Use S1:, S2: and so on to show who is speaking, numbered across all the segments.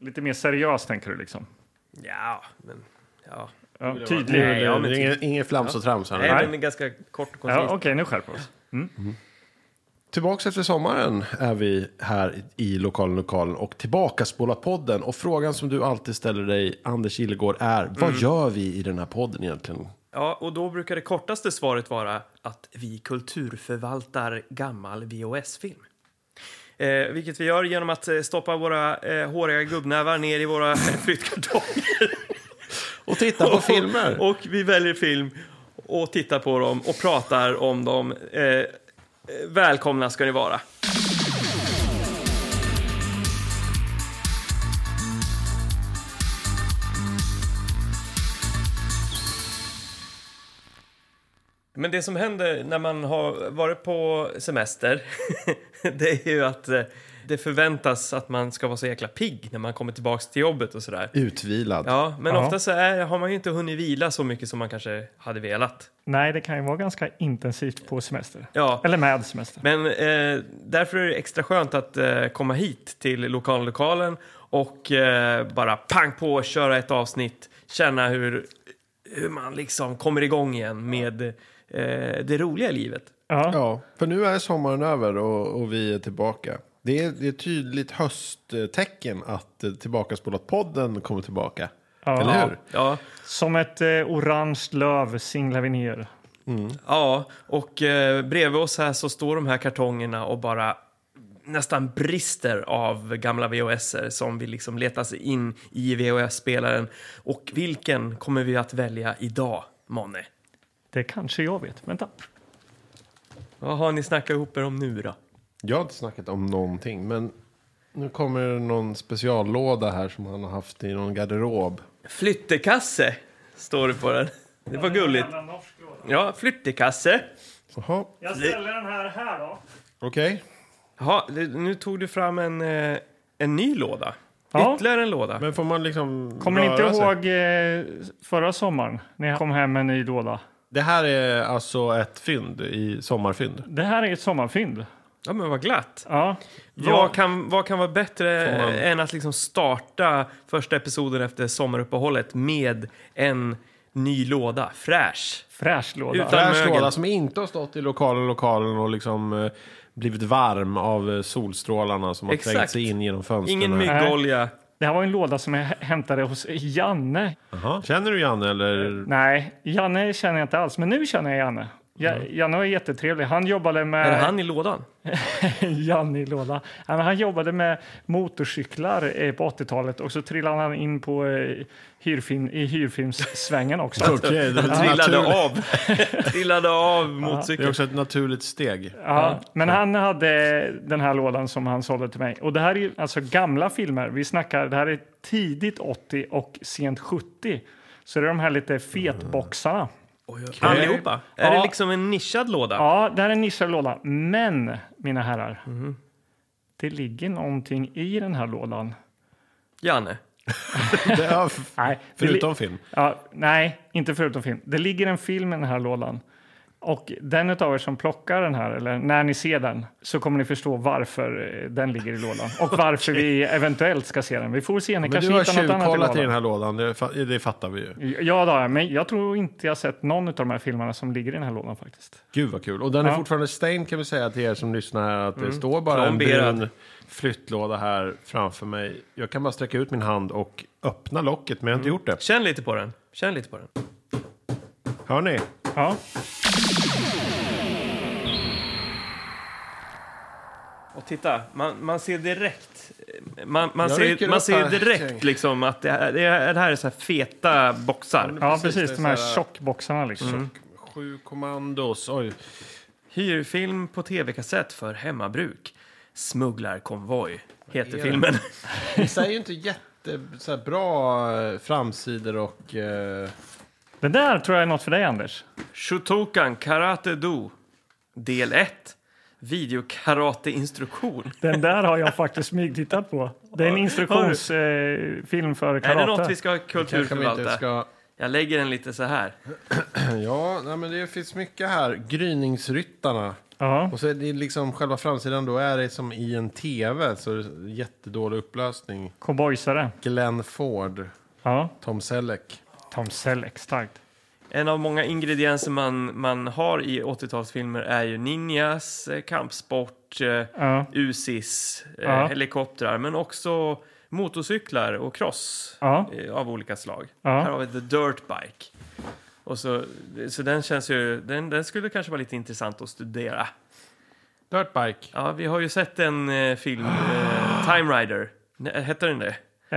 S1: Lite mer seriöst tänker du liksom?
S2: Ja, men... Ja.
S1: Ja,
S3: det
S1: tydlig.
S2: Nej, ja, men
S3: det är inget, inget flams och trams här nu.
S2: Nej, den är ganska kort och
S1: Ja,
S2: koncis.
S1: Okej, nu skärper vi oss.
S3: Tillbaks efter sommaren är vi här i lokalen, lokalen och tillbaka spolar podden. Och frågan som du alltid ställer dig, Anders Gillegård, är vad
S2: Mm.
S3: gör vi i den här podden egentligen?
S2: Ja, och då brukar det kortaste svaret vara att vi kulturförvaltar gammal VHS-film. Eh, vilket vi gör genom att eh, stoppa våra eh, håriga gubbnävar ner i våra eh, flyttkartonger.
S3: Och titta på filmer.
S2: Och, och vi väljer film och tittar på dem och pratar om dem. Eh, eh, välkomna ska ni vara. Men det som händer när man har varit på semester det är ju att eh, det förväntas att man ska vara så jäkla pigg när man kommer tillbaks till jobbet och sådär.
S3: Utvilad.
S2: Ja, men
S1: Ja.
S2: ofta så är, har man ju inte hunnit vila så mycket som man kanske hade velat.
S1: Nej, det kan ju vara ganska intensivt på semester.
S2: Ja.
S1: Eller med semester.
S2: Men eh, därför är det extra skönt att eh, komma hit till lokallokalen och eh, bara pang på, köra ett avsnitt, känna hur, hur man liksom kommer igång igen med eh, det roliga i livet.
S1: Ja.
S3: Ja, för nu är sommaren över och, och vi är tillbaka. Det är, det är ett tydligt hösttecken att eh, Tillbaka spolat podden kommer tillbaka.
S1: Ja.
S3: Eller hur?
S2: Ja,
S1: Som ett eh, orange löv singlar vi ner.
S2: ja och eh, bredvid oss här så står de här kartongerna och bara nästan brister av gamla VHS-er som vill liksom leta sig in i VHS-spelaren. Och vilken kommer vi att välja idag, Monne?
S1: Det kanske jag vet. Vänta.
S2: Vad har ni snackat ihop er om nu då?
S3: Jag har inte snackat om någonting, men nu kommer det någon speciallåda här som han har haft i någon garderob.
S2: Flyttekasse, står det på den. Det var gulligt. Ja, flyttekasse.
S3: Jaha,
S1: Jag
S2: ställer
S1: den här här då.
S3: okej.
S2: Jaha, nu tog du fram en, eh, en ny låda.
S1: Ja.
S2: Ytterligare en låda.
S3: Men får man liksom
S1: Kommer ni inte
S3: röra sig?
S1: ihåg eh, förra sommaren när jag kom hem med en ny låda?
S3: Det här är alltså ett fynd i sommarfynd.
S1: Det här är ett sommarfynd.
S2: Ja, men vad glatt.
S1: Ja.
S2: Vad kan, vad kan vara bättre
S3: Får man-
S2: än att liksom starta första episoden efter sommaruppehållet med en ny låda, fräsch?
S1: Fräsch låda.
S2: Utan-
S3: Det här är en
S2: mögel.
S3: skåla som inte har stått i lokalen, lokalen och liksom eh, blivit varm av eh, solstrålarna som har
S2: Exakt.
S3: trängt sig in genom fönstren.
S2: Ingen
S3: här.
S2: myggolja.
S1: Det här var en låda som jag hä- hämtade hos Janne.
S3: Jaha. Känner du Janne eller?
S1: Nej, Janne känner jag inte alls, men nu känner jag Janne. Ja, Janne var jättetrevlig. Han jobbade med...
S2: Är det han i lådan?
S1: Janne i låda. Ja, men Han jobbade med motorcyklar eh, på 80-talet och så trillade han in på eh, hyrfilm, i hyrfilmssvängen också.
S3: Okej, det, är
S2: Han
S3: ett
S2: trillade
S3: naturligt-
S2: av. trillade av
S3: det är
S2: motorcykeln.
S3: också ett naturligt steg.
S1: Ja, men han hade den här lådan som han sålde till mig. Och det här är ju alltså gamla filmer. Vi snackar, det här är tidigt 80 och sent 70. Så det är de här lite fetboxarna.
S2: Allihopa. Är
S1: Ja.
S2: det liksom en nischad låda?
S1: Ja, det här är en nischad låda. Men, mina herrar,
S3: Mhm.
S1: det ligger någonting i den här lådan.
S2: Janne?
S3: Det är,
S1: Nej, det li-
S3: förutom film.
S1: Ja, nej, inte förutom film. Det ligger en film i den här lådan. Och den av er som plockar den här, eller när ni ser den, så kommer ni förstå varför eh, den ligger i lådan. Och varför vi eventuellt ska se den. Vi får se, ni
S3: Men
S1: kanske
S3: du
S1: hittar
S3: har
S1: något annat i
S3: tjuvkollat
S1: lådan.
S3: i den här lådan, det, fa- det fattar vi ju.
S1: Ja, då, men jag tror inte jag sett någon av de här filmerna som ligger i den här lådan faktiskt.
S3: Gud vad kul. Och den är
S1: Ja. Mm.
S3: fortfarande stängd kan vi säga till er som lyssnar här. Att det står bara en
S2: Plomberad.
S3: brun flyttlåda här framför mig. Jag kan bara sträcka ut min hand och öppna locket, men jag har inte
S1: Mm.
S3: gjort det.
S2: Känn lite på den. Känn lite på den.
S3: Hör ni?
S1: Ja,
S2: Och titta, man, man ser direkt... Man, man
S3: Jag rycker
S2: ser, man
S3: upp
S2: ser
S3: här.
S2: direkt liksom att det här, det här det här är så här feta boxar.
S1: ja
S3: precis,
S1: precis.
S3: det är
S1: de här
S3: så här- Mm.
S1: tjockboxarna liksom.
S3: Sju kommandos. Oj.
S2: Hyrfilm på tv-kassett för hemmabruk. Smugglarkonvoj heter filmen.
S3: Vissa är ju inte jätte så här, bra eh, framsidor och... Eh,
S1: Det där tror jag är något för dig, Anders.
S2: Shotokan Karate Do, del 1. Videokarateinstruktion.
S1: Den där har jag faktiskt smygtittat på. Det är en instruktionsfilm för
S2: Är
S1: karate.
S2: det något vi ska
S3: kanske vi inte
S2: kulturförvalta?
S3: ska...
S2: Jag lägger den lite så här.
S3: Ja, nej, men det finns mycket här. Gryningsryttarna.
S1: Ja.
S3: Och så är det liksom själva framsidan då är det som i en tv, så det är jättedålig upplösning.
S1: Cowboysare.
S3: Glenn Ford,
S1: Ja.
S3: Tom Selleck.
S1: Tom Selleck, starkt.
S2: En av många ingredienser man, man har i 80-talsfilmer är ju ninjas, eh, kampsport, eh,
S1: Ja.
S2: USIS, eh,
S1: Ja.
S2: helikoptrar, men också motorcyklar och cross
S1: Ja.
S2: eh, av olika slag.
S1: Ja.
S2: Här har vi The Dirt Bike. Och så, så den känns ju, den, den skulle kanske vara lite intressant att studera.
S3: Dirtbike.
S2: Ja, vi har ju sett en eh, film, eh, Time Rider. Nej, Hette den det?
S1: Eh,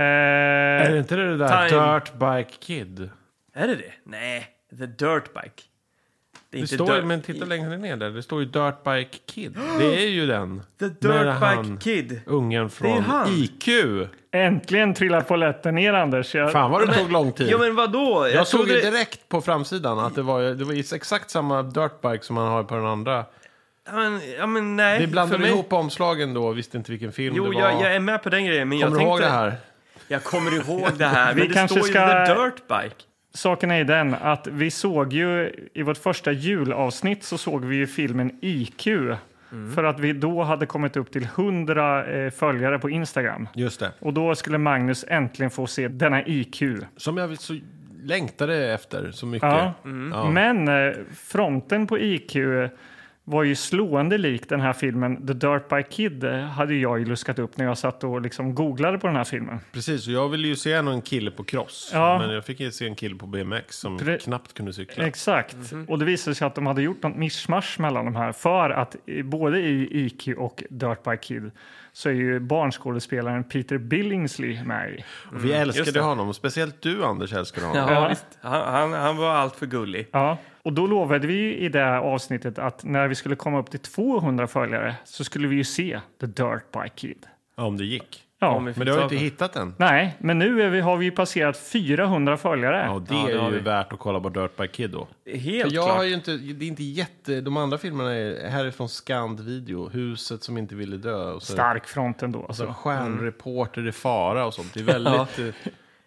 S3: Är det inte det där
S2: Time.
S3: Dirtbike Kid?
S2: Är det det? Nej, The Dirt Bike. är
S3: Det
S2: inte
S3: står ju,
S2: dirt-
S3: men titta längre ner där, det står ju Dirtbike Kid. Det är ju den.
S2: The
S3: Med
S2: Dirt
S3: han,
S2: Bike Kid.
S3: Ungen
S2: Det är
S3: från
S2: han.
S3: IQ.
S1: Eh, äntligen trillar polletten ner, Anders. Jag,
S3: Fan vad det tog lång tid.
S2: Ja, men vadå?
S3: Typ. jag såg
S2: trodde-
S3: ju direkt på framsidan att det var, ju- det var ju exakt samma Dirtbike som man har på den andra.
S2: Ja, men, ja, men nej.
S3: Vi
S2: Eh, för
S3: blandade
S2: mig-
S3: ihop omslagen då och visste inte vilken film
S2: Jo,
S3: det var.
S2: jag, jag är med på den grejen, men jag
S3: Kommer du
S2: tänkte...
S3: ihåg det här?
S2: Jag kommer ihåg det här,
S1: Vi
S2: men det
S1: kanske
S2: står ju
S1: ska-
S2: The Dirt Bike.
S1: Saken är ju den att vi såg ju i vårt första julavsnitt så såg vi ju filmen IQ. För att vi då hade kommit upp till 100 eh, följare på Instagram.
S3: Just det.
S1: Och då skulle Magnus äntligen få se denna IQ.
S3: Som jag så längtade efter så mycket.
S1: Ja.
S2: Mm.
S3: Ja.
S1: Men eh, fronten på IQ var ju slående lik den här filmen The Dirt Bike Kid eh, hade ju jag ju luskat upp när jag satt och liksom googlade på den här filmen.
S3: Precis, och jag ville ju se någon kille på cross.
S1: Ja.
S3: Men jag fick ju se en kille på BMX som
S1: Pre-
S3: knappt kunde cykla.
S1: Exakt.
S3: Mhm.
S1: Och det visade sig att de hade gjort något mischmasch mellan de här för att eh, både i IQ och Dirt Bike Kid så är ju barnskådespelaren Peter Billingsley med i.
S3: Och vi älskade
S2: Mm, just det.
S3: honom, speciellt du Anders älskade honom.
S2: Ja,
S1: Ja.
S2: visst. Han, han, han var allt för gullig.
S1: Ja. Och då lovade vi ju i det här avsnittet att när vi skulle komma upp till 200 följare så skulle vi ju se The Dirt Bike Kid.
S3: Om det gick.
S1: Ja.
S2: Om vi fick
S3: Men du har ju
S2: ta
S3: inte
S2: på-
S3: hittat den.
S1: Nej, men nu är vi, har vi ju passerat 400 följare.
S3: Ja, det
S2: Ja, det har
S3: är ju
S2: vi.
S3: värt att kolla på Dirtbike Kid då.
S2: Helt
S3: jag
S2: klart.
S3: har ju inte, det är inte jätte, de andra filmerna är härifrån Scand Video, Huset som inte ville dö och så,
S1: Stark front ändå. Alltså.
S3: så
S2: Mm.
S3: Stjärnreporter i fara och sånt. Det är väldigt eh,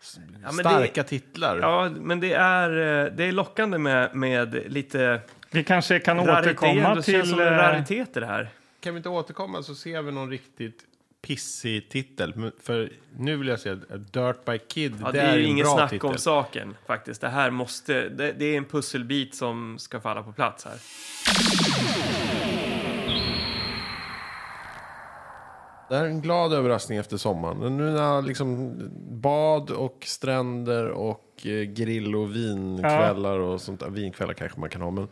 S3: s-
S2: men det-
S3: starka titlar.
S2: Ja, men det är, eh, det är lockande med, med lite
S1: Vi kanske kan
S2: rariteter.
S1: återkomma
S2: Det känns
S1: till...
S2: som
S1: eh,
S2: en raritet det här.
S3: Kan vi inte återkomma så ser vi någon riktigt pissig titel. Men- För nu vill jag säga att Dirtbike Kid,
S2: Ja,
S3: det,
S2: det, är ju
S3: en
S2: ingen
S3: bra
S2: snack
S3: titel.
S2: om saken faktiskt. Det här måste, det, det är en pusselbit som ska falla på plats här.
S3: Det här är en glad överraskning efter sommaren. Nu när liksom bad och stränder och eh, grill och vinkvällar och sånt där. Vinkvällar kanske man kan ha, men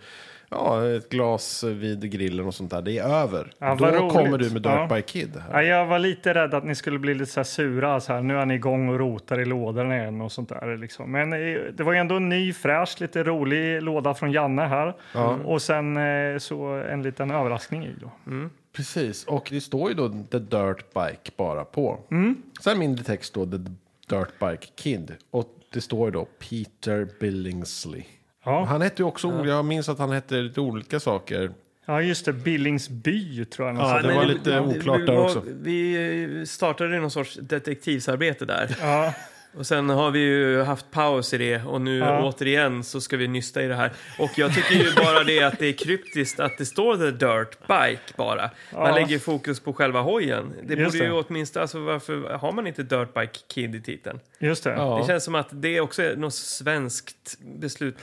S3: ja, ett glas vid grillen och sånt där. Det är över.
S1: Ja,
S3: Då
S1: vad roligt.
S3: kommer du med Dirt
S1: Ja.
S3: by Kid. Här.
S1: Ja, jag var lite rädd att ni skulle bli lite så här sura. Så här, nu är ni igång och rotar i lådorna igen och sånt där. Liksom. Men eh, det var ju ändå en ny, fräsch, lite rolig låda från Janne här. Och sen eh, så en liten överraskning i då.
S3: Precis, och det står ju då The Dirt Bike bara på.
S1: Mm.
S3: Sen mindre text då, The Dirt Bike Kid. Och det står ju då Peter Billingsley.
S1: Ja.
S3: Han hette ju också, jag minns att han hette lite olika saker.
S1: ja, just det. Billingsby tror jag.
S3: Ja,
S1: Ja,
S3: det
S2: men
S3: var lite oklart
S2: vi
S3: där
S2: var-
S3: också.
S2: Vi startade någon sorts detektivsarbete där.
S1: ja.
S2: Och sen har vi ju haft paus i det och nu
S1: Ja.
S2: återigen så ska vi nysta i det här. Och jag tycker ju bara det att det är kryptiskt att det står The Dirt Bike bara. Man
S1: Ja.
S2: lägger fokus på själva hojen. Det
S1: Just
S2: borde ju
S1: det.
S2: åtminstone, alltså varför har man inte Dirt Bike Kid i titeln?
S1: just det.
S3: Ja.
S2: Det känns som att det också är något svenskt beslut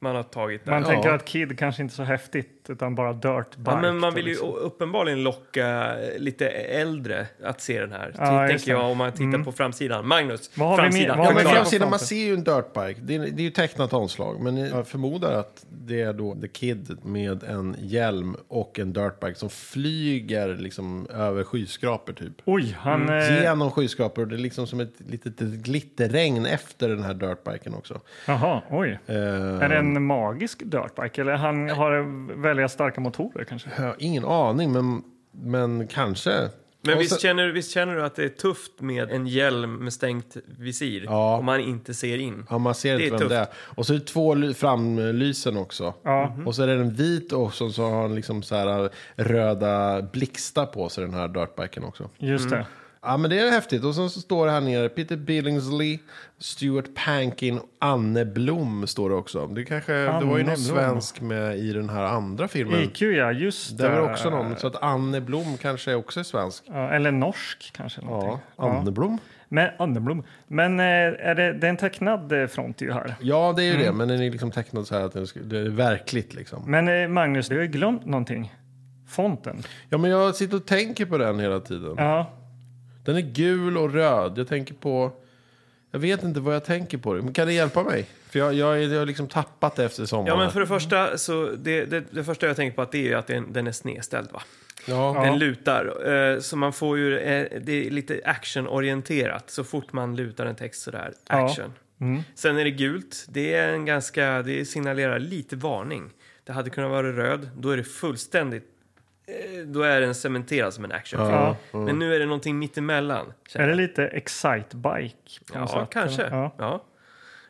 S2: man har tagit där.
S1: Man
S3: Ja.
S1: tänker att Kid kanske inte är så häftigt, utan bara Dirt Bike.
S2: Ja, men man
S1: då,
S2: vill ju
S1: liksom.
S2: uppenbarligen locka lite äldre att se den här.
S1: Ja,
S2: Ja,
S1: just
S2: tänker
S1: det. Mm.
S2: jag om man tittar på framsidan. Magnus,
S1: Vad har vi mer-
S2: framsidan.
S1: vad
S3: Ja,
S1: har
S3: men
S1: Klara
S3: framsidan,
S1: på
S3: man
S1: fronten.
S3: ser ju en dirtbike. Det är, det är ju tecknat omslag. Men jag förmodar att det är då The Kid med en hjälm och en dirtbike som flyger liksom över skyskrapor typ.
S1: Oj, han... Eh,
S3: Genom skyskrapor. Det är liksom som ett litet glitterregn efter den här dirtbiken också.
S1: jaha, oj.
S3: Eh,
S1: Är det en magisk dirtbike? Eller han har väldigt starka motorer kanske?
S3: Jag har ingen aning, men, men kanske.
S2: Men
S3: Och
S2: visst,
S3: sen-
S2: känner, visst känner du att det är tufft med en hjälm med stängt visir?
S3: Ja.
S2: Om man inte ser in.
S3: Ja, man ser
S2: Det är
S3: inte vem
S2: tufft.
S3: det är. Och så är det två ly- framlysen också. Mm-hmm.
S1: Ja.
S3: Och så är det en vit och så, äh, så har han liksom så här röda blixtar på sig den här dirtbiken också.
S1: Just det.
S3: Ja, men det är häftigt. Och sen så står det här nere, Peter Billingsley, Stuart Pankin och Anne Blom står det också. Det, kanske, det var ju någon
S1: Anne Blom.
S3: svensk med i den här andra filmen.
S1: IQ, ja. Just
S3: Det var det också någon, så att Anne Blom kanske också är svensk.
S1: Ja, Eller norsk kanske.
S3: Ja,
S1: någonting.
S3: Anne Blom.
S1: Men, Andeblom. Men eh, är det, det är en tecknad eh, front ju här.
S3: Ja, det är ju det, men den är liksom tecknad så här att den ska- det är verkligt liksom.
S1: Men eh, Magnus, du har ju glömt någonting. Fonten.
S3: Ja, men jag sitter och tänker på den hela tiden.
S1: Ja.
S3: Den är gul och röd. Jag tänker på... Jag vet inte vad jag tänker på. Men kan det hjälpa mig? För jag, jag, jag har liksom tappat det efter sommaren.
S2: Ja, men för det första så det, det, det första jag tänker på att det är ju att den, den är snedställd va?
S3: ja.
S2: Den lutar. Eh, Så man får ju, eh, det är lite actionorienterat så fort man lutar en text sådär.
S1: Ja.
S2: Action.
S1: Mm.
S2: Sen är det gult. Det är en ganska, det signalerar lite varning. Det hade kunnat vara röd. Då är det fullständigt, eh, då är den cementerad som en actionfilm.
S1: Ja.
S2: Men nu är det någonting mittemellan.
S1: Är det lite excitebike? på något
S2: Ja,
S1: sätt?
S2: kanske.
S1: Ja.
S2: Ja.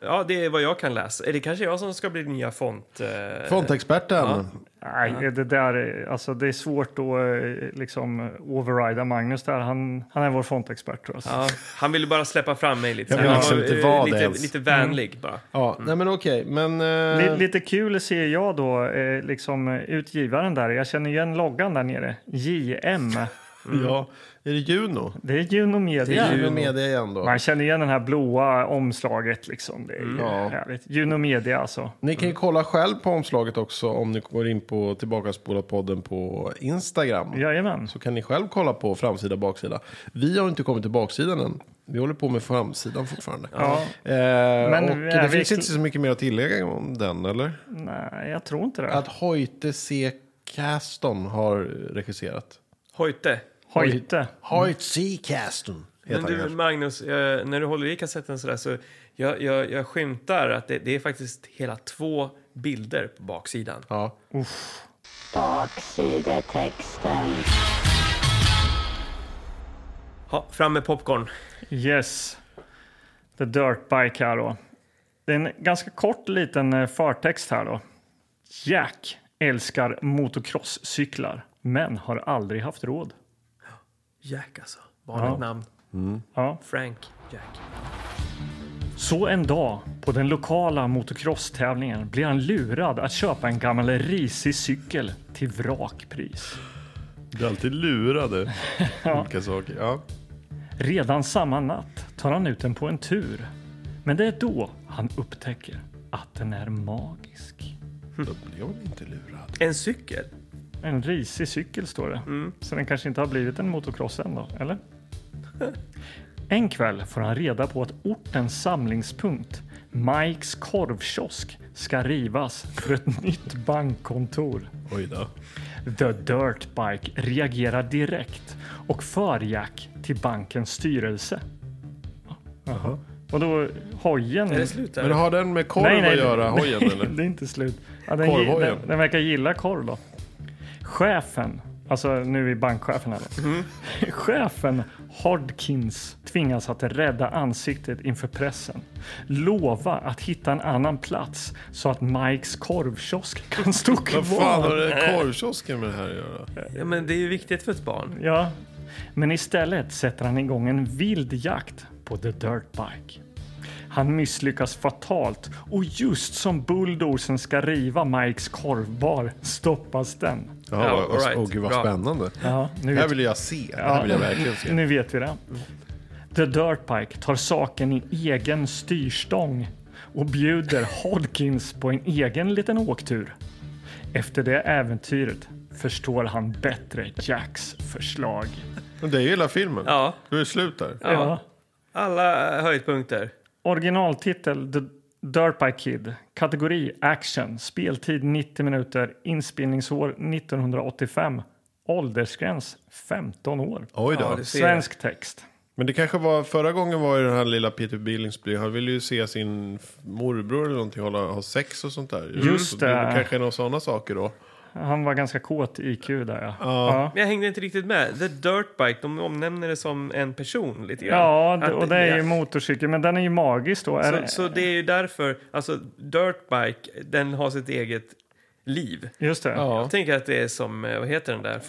S2: Ja. det är vad jag kan läsa. Är det kanske jag som ska bli nya font... Eh,
S3: Fontexperten.
S1: Nej, det där är, alltså det är svårt att eh, liksom overrida Magnus där. Han, han är vår fontexpert tror jag.
S2: Ja, han ville bara släppa fram mig lite.
S3: Jag
S2: så här.
S3: vill liksom
S2: Han var, eh,
S3: inte vara det
S2: lite,
S3: ens. Mm.
S2: lite vänlig bara.
S3: Ja, nej men okej. Men... eh,
S1: Li- Lite kul ser jag då, eh, liksom eh, utgivaren där. Jag känner igen loggan där nere. JM.
S3: Ja. Är det Juno?
S1: Det är Juno
S3: Det
S1: Media.
S3: är Juno Media igen då.
S1: Man känner igen det här blåa omslaget liksom. Det är ju
S3: Ja.
S1: härligt. Juno Media alltså.
S3: Ni kan ju kolla själv på omslaget också om ni går in på Tillbakaspolat-podden på Instagram.
S1: Jajamän.
S3: Så kan ni själv kolla på framsida och baksida. Vi har inte kommit till baksidan än. Vi håller på med framsidan fortfarande.
S1: Ja,
S3: Eh,
S1: Men
S3: och
S1: är
S3: det
S1: vi
S3: finns
S1: kl-
S3: inte så mycket mer att tillägga om den, eller?
S1: nej, jag tror inte det.
S3: Att Hoyte C. Caston har regisserat.
S2: Hojte.
S1: Hojte.
S3: Hoyte C. Caston heter
S2: Men
S3: han
S2: du
S3: kanske.
S2: Magnus, eh, när du håller i kassetten sådär så jag, jag, jag skymtar att det, det är faktiskt hela två bilder på baksidan.
S3: Ja.
S4: Baksidetexten.
S2: Ha, fram med popcorn.
S1: Yes. The Dirt Bike här då. Det är en ganska kort liten eh, förtext här då. Jack älskar motocrosscyklar men har aldrig haft råd.
S2: Jack alltså. Vanligt
S1: Ja.
S2: namn.
S3: Mm.
S1: Ja.
S2: Frank Jack.
S1: Så en dag på den lokala motocrosstävlingen blir han lurad att köpa en gammal risig cykel till vrakpris.
S3: Du är alltid lurad Olika saker. Ja.
S1: Redan samma natt tar han ut den på en tur. Men det är då han upptäcker att den är magisk.
S3: Då blir jag väl inte lurad.
S2: En cykel?
S1: En risig cykel står det. Så den kanske inte har blivit en motocross än då, eller? en kväll får han reda på att ortens samlingspunkt, Mikes korvkiosk, ska rivas för ett nytt bankkontor.
S3: Oj då.
S1: The Dirtbike reagerar direkt och för Jack till bankens styrelse. Jaha. Och då hojen...
S2: Är det slut där?
S3: Mm. Men har den med korv att göra, hojen eller?
S1: det är inte slut. Ja, den, gi-
S3: Korvhojen.
S1: den, den verkar gilla korv då. Chefen, alltså nu är bankchefen här då.
S3: Mm.
S1: Chefen Hodkins tvingas att rädda ansiktet inför pressen. Lova att hitta en annan plats så att Mikes korvkiosk kan stå
S3: Vad fan
S1: kvar.
S3: har det korvkiosken med det här att göra?
S2: Ja, men det är ju viktigt för ett barn.
S1: Ja, men istället sätter han igång en vild jakt på The Dirtbike. Han misslyckas fatalt och just som bulldozern ska riva Mikes korvbar stoppas den.
S3: Ja,
S2: Ja,
S3: vad-
S2: all right.
S3: Åh gud vad
S2: Bra.
S3: spännande.
S1: Ja, nu
S3: Det här
S1: vet,
S3: vill jag se. Det här vill jag verkligen se.
S1: nu vet vi det. The Dirtbike tar saken i egen styrstång och bjuder Hodkins på en egen liten åktur. Efter det äventyret förstår han bättre Jacks förslag.
S3: Men det är ju hela filmen.
S2: Ja.
S3: Då är det slut där.
S1: Ja.
S2: Alla höjdpunkter.
S1: Originaltitel The Dirtbike Kid. Kategori Action. Speltid 90 minuter. Inspelningsår 1985. Åldersgräns 15 år.
S3: Oj då.
S2: Ja, det ser jag.
S1: Svensk text.
S3: Men det kanske var förra gången var ju den här lilla Peter Billingsby. Han ville ju se sin f- morbror eller någonting hålla, ha sex och sånt där.
S1: Just
S3: Så
S1: det.
S3: Det kanske är några sådana saker då.
S1: Han var ganska kåt i IQ där ja. Ja,
S2: Men jag hängde inte riktigt med. The Dirtbike, de omnämner det som en person lite grann.
S1: ja det-
S2: Att-
S1: och det är ju
S2: ja.
S1: motorcykel. Men den är ju magisk då. Är
S2: Så,
S1: det,
S2: så det är ju därför, alltså Dirtbike, den har sitt eget liv.
S1: Just det.
S5: Ja.
S2: Jag tänker att det är som, eh, vad heter den där,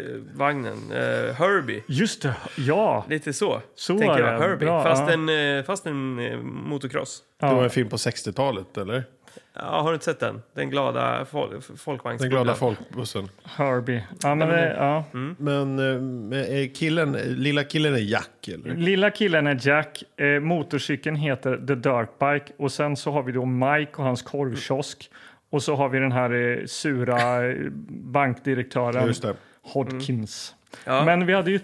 S2: folkvagnen, eh, Herbie.
S1: Just det, ja.
S2: Lite så,
S1: Så
S2: tänker
S1: är
S2: jag,
S1: det.
S2: Herbie.
S1: Bra,
S2: fast,
S1: ja.
S2: en, eh, fast en eh, motocross.
S1: ja.
S3: Det var en film på 60-talet, eller?
S2: Ja, har du inte sett den? Den glada fol folkvagnsbubblan.
S3: Den glada folkbussen.
S1: Herbie. Ja, men det, ja.
S3: Men eh, men, eh, killen, lilla killen är Jack, eller?
S1: Lilla killen är Jack, eh, motorcykeln heter The Dirtbike och sen så har vi då Mike och hans korvkiosk och så har vi den här eh, sura eh, bankdirektören
S3: Just det.
S1: Hodgkins.
S2: Mm. Ja.
S1: Men vi hade ju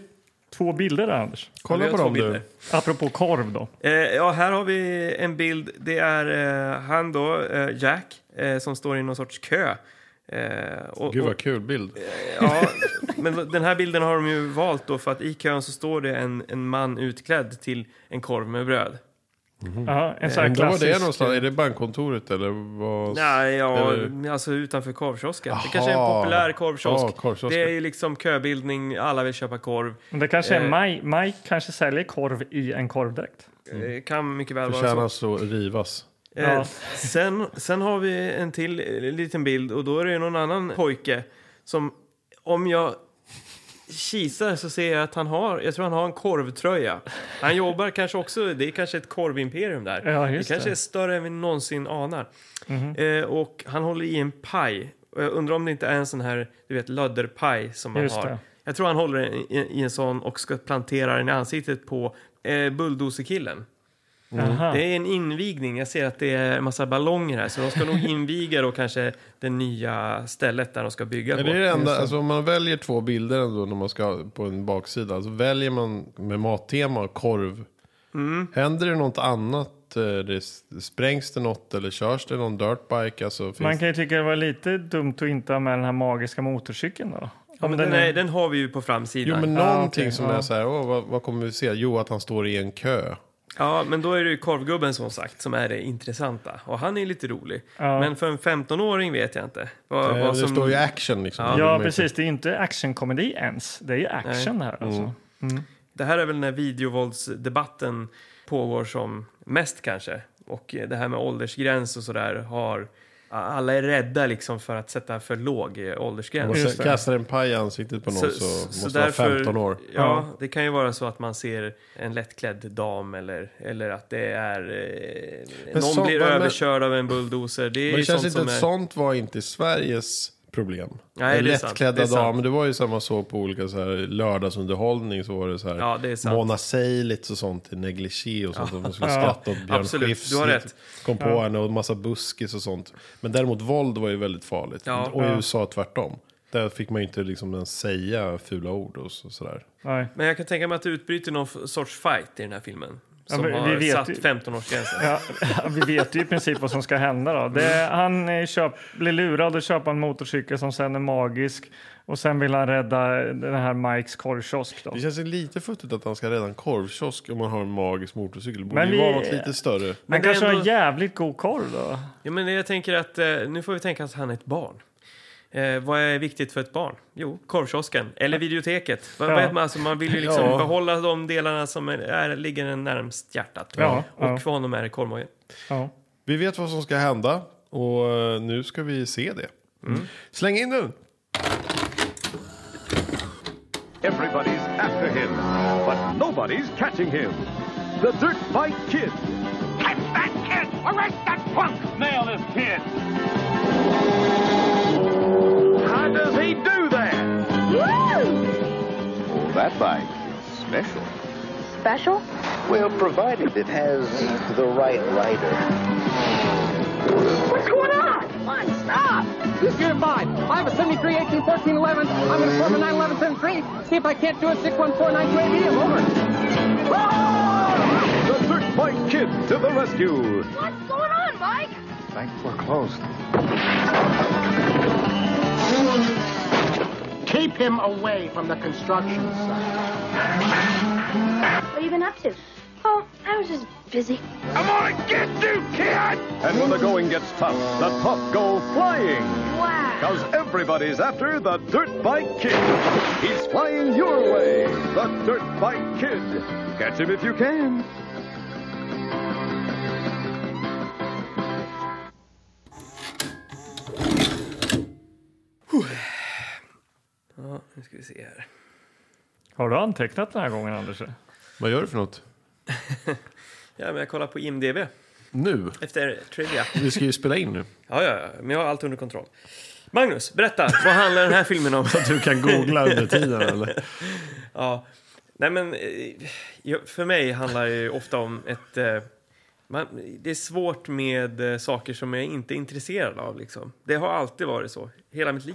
S1: två bilder där, Anders.
S3: Kolla
S2: Vi
S3: på
S2: har två
S3: dem
S2: bilder.
S3: du.
S1: Apropå korv då.
S2: Eh, ja, här har vi en bild. Det är eh, han då, eh, Jack, eh, som står i någon sorts kö. Eh, och,
S3: Gud
S2: och,
S3: vad kul bild.
S2: ja, men den här bilden har de ju valt då för att i kön så står det en, en man utklädd till en korv med bröd. Mm.
S1: Ja, en sån här
S3: Undrar var
S1: klassisk...
S3: det är någonstans? Är det bankkontoret eller vad?
S2: Nej, ja,
S3: Eller-
S2: alltså utanför korvkiosken. Det
S3: Aha.
S2: kanske är en populär korvkiosk.
S3: Ja, korvkiosken.
S2: Det är ju liksom köbildning, alla vill köpa korv.
S1: Men det kanske
S2: Eh.
S1: är Mike, Mike kanske säljer korv i en korvdräkt.
S3: Mm.
S2: Eh, Kan mycket väl vara så.
S3: Förtjänas att rivas.
S2: Eh,
S1: Ja.
S2: sen, sen har vi en till eh, liten bild och då är det någon annan pojke som om jag kisar så ser jag att han har, jag tror han har en korvtröja. Han jobbar kanske också, det är kanske ett korvimperium där.
S1: Ja,
S2: det
S1: just
S2: kanske
S1: det. Mhm.
S2: är större än vi någonsin anar. Eh, och han håller i en paj. Och jag undrar om det inte är en sån här, du vet, lödderpaj som man
S1: Just
S2: har.
S1: det.
S2: Jag tror han håller i, i en sån och ska plantera den i ansiktet på eh, bulldozer-killen.
S1: Aha.
S2: Mm. Det är en invigning. Jag ser att det är en massa ballonger här. Så de ska nog inviga då kanske det nya stället där de ska bygga
S3: Men
S2: på.
S3: det är det enda, alltså om man väljer två bilder ändå när man ska på en baksida. Alltså väljer man med mattema och korv.
S1: Mm.
S3: Händer det något annat? eh, Det s- sprängs det något eller körs det någon dirtbike? Alltså, finns
S1: Man kan ju tycka det var lite dumt att inte ha med den här magiska motorcykeln då.
S2: Ja, men den,
S1: är-
S2: nej, den har vi ju på
S3: Jo
S2: framsidan.
S3: men
S1: Ah,
S3: någonting
S1: okej,
S3: som
S1: ja.
S3: är så här, åh, vad, vad kommer vi se? Jo att han står i en kö.
S2: Ja, men då är det ju korvgubben som sagt som är det intressanta. Och han är lite rolig.
S1: Ja.
S2: Men för en 15-åring vet jag inte. Vad,
S3: Eh,
S2: vad
S3: det
S2: som...
S3: står ju action liksom. Det är
S1: Ja,
S3: väl mycket.
S1: precis. Det är ju inte actionkomedi ens. Det är ju action det här.
S2: Mm.
S1: Alltså.
S2: Det här är väl när videovåldsdebatten pågår som mest kanske. Och eh, det här med åldersgräns och sådär har... Alla är rädda liksom för att sätta för låg eh, åldersgräns.
S3: Och
S1: Just
S3: sen
S1: det.
S3: kastar en paj i ansiktet på någon så, måste vara 15 år.
S2: Ja, det kan ju vara så att man ser en lättklädd dam eller, eller att det är... Eh, någon
S3: Men så-
S2: blir
S3: men-
S2: överkörd av en bulldozer. Det är
S3: Men
S2: ju
S3: det känns
S2: sånt
S3: inte
S2: som
S3: att
S2: är...
S3: sånt var inte Sveriges problem.
S2: Nej,
S3: Den
S2: det är sant. Det
S3: lättklädda
S2: är sant.
S3: damer, det var ju samma så på olika så här lördagsunderhållning så var det så här
S2: Ja, det är sant.
S3: Mona Seilitz och sånt i negligé och sånt som man skulle skratta åt Björn
S2: Absolut,
S3: Skifs
S2: du har rätt.
S3: kom på henne och massa buskis och sånt. Men däremot våld var ju väldigt farligt.
S2: Ja.
S3: och i USA tvärtom. Där fick man ju inte liksom ens säga fula ord och så- sådär.
S1: Nej.
S2: Men jag kan tänka mig att det utbryter någon f- sorts fight i den här filmen.
S1: Ja,
S2: Som
S1: men vi
S2: har
S1: vet
S2: satt
S1: ju-
S2: 15-årsgränsen.
S1: Ja, vi vet ju i princip vad som ska hända. Då. Det, han eh, köp, blir lurad att köpa en motorcykel som sen är magisk och sen vill han rädda den här Mikes korvkiosk. Då.
S3: Det känns ju lite futtigt att han ska rädda en korvkiosk om man har en magisk motorcykel. Det borde
S1: Men
S3: ju
S1: vi-
S3: vara något lite större.
S1: Men
S2: det är
S1: kanske har
S2: ändå-
S1: jävligt god korv då?
S2: Ja, men jag tänker att eh, nu får vi tänka att han är ett barn. Eh, vad är viktigt för ett barn? Jo, korvkiosken eller videoteket. Vad,
S1: Ja.
S2: vad är man, alltså, man vill ju liksom
S3: Ja.
S2: behålla de delarna som är, är, ligger en närmst hjärtat.
S1: Ja,
S2: och
S1: ja.
S2: för honom är det korvmojen.
S1: Ja.
S3: Vi vet vad som ska hända och eh, nu ska vi se det. Mm. Släng in den!
S6: Everybody's after him, but nobody's catching him. The Dirt Bike Kid.
S7: Catch that kid! Arrest that punk! Nail this kid!
S6: How does he do that?
S8: That bike is special.
S4: special?
S8: Well, provided it has the right rider.
S4: What's going on? Come on, stop!
S9: This year five. I have a 73, 18, 14, 11. I'm going to form a 9, 11, 73. See if I can't do it. 614, 928, I'm over.
S6: The Dirt Bike Kid to the rescue.
S4: What's going on, Mike?
S8: Bank foreclosed.
S9: Keep him away from the construction site.
S4: What have you been up to? Oh, I was just busy.
S7: I'm gonna get you, kid!
S6: And when the going gets tough, the tough go flying.
S4: Wow.
S6: Because everybody's after the Dirt Bike Kid. He's flying your way. The Dirt Bike Kid. Catch him if you can.
S2: Nu ska vi se här.
S1: Har du antecknat den här gången, Anders?
S3: Vad gör du för något?
S2: Ja, men jag kollar på IMDB
S3: Nu?
S2: efter trivia.
S3: Vi ska ju spela in nu.
S2: Ja, ja, ja, men jag har allt under kontroll. Magnus, berätta, vad handlar den här filmen om?
S3: Du kan googla under tiden eller?
S2: Ja. Nej, men, eh, jag- för mig handlar det ju ofta om ett... eh, Man, det är svårt med eh, saker som jag inte är intresserad av. Liksom. Det har alltid varit så, hela mitt liv.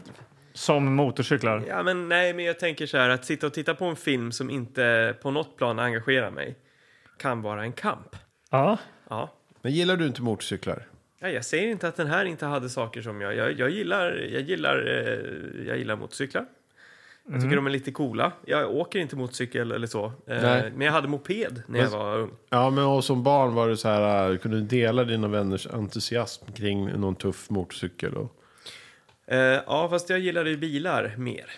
S1: Som motorcyklar?
S2: Ja, men, nej, men jag tänker så här, att sitta och titta på en film som inte på något plan engagerar mig kan vara en kamp.
S1: Ja.
S2: Ja.
S3: Men gillar du inte motorcyklar?
S2: Ja, jag säger inte att den här inte hade saker som jag... Jag, jag gillar, jag gillar, eh, jag gillar motorcyklar. Jag tycker
S3: Mm.
S2: de är lite coola. Jag åker inte motorcykel eller så. Eh,
S3: Nej.
S2: men jag hade moped när jag var ung.
S3: Ja, men och som barn var du så här, äh, kunde du dela dina vänners entusiasm kring någon tuff motorcykel? Och...
S2: Eh, ja, fast jag gillade ju bilar mer.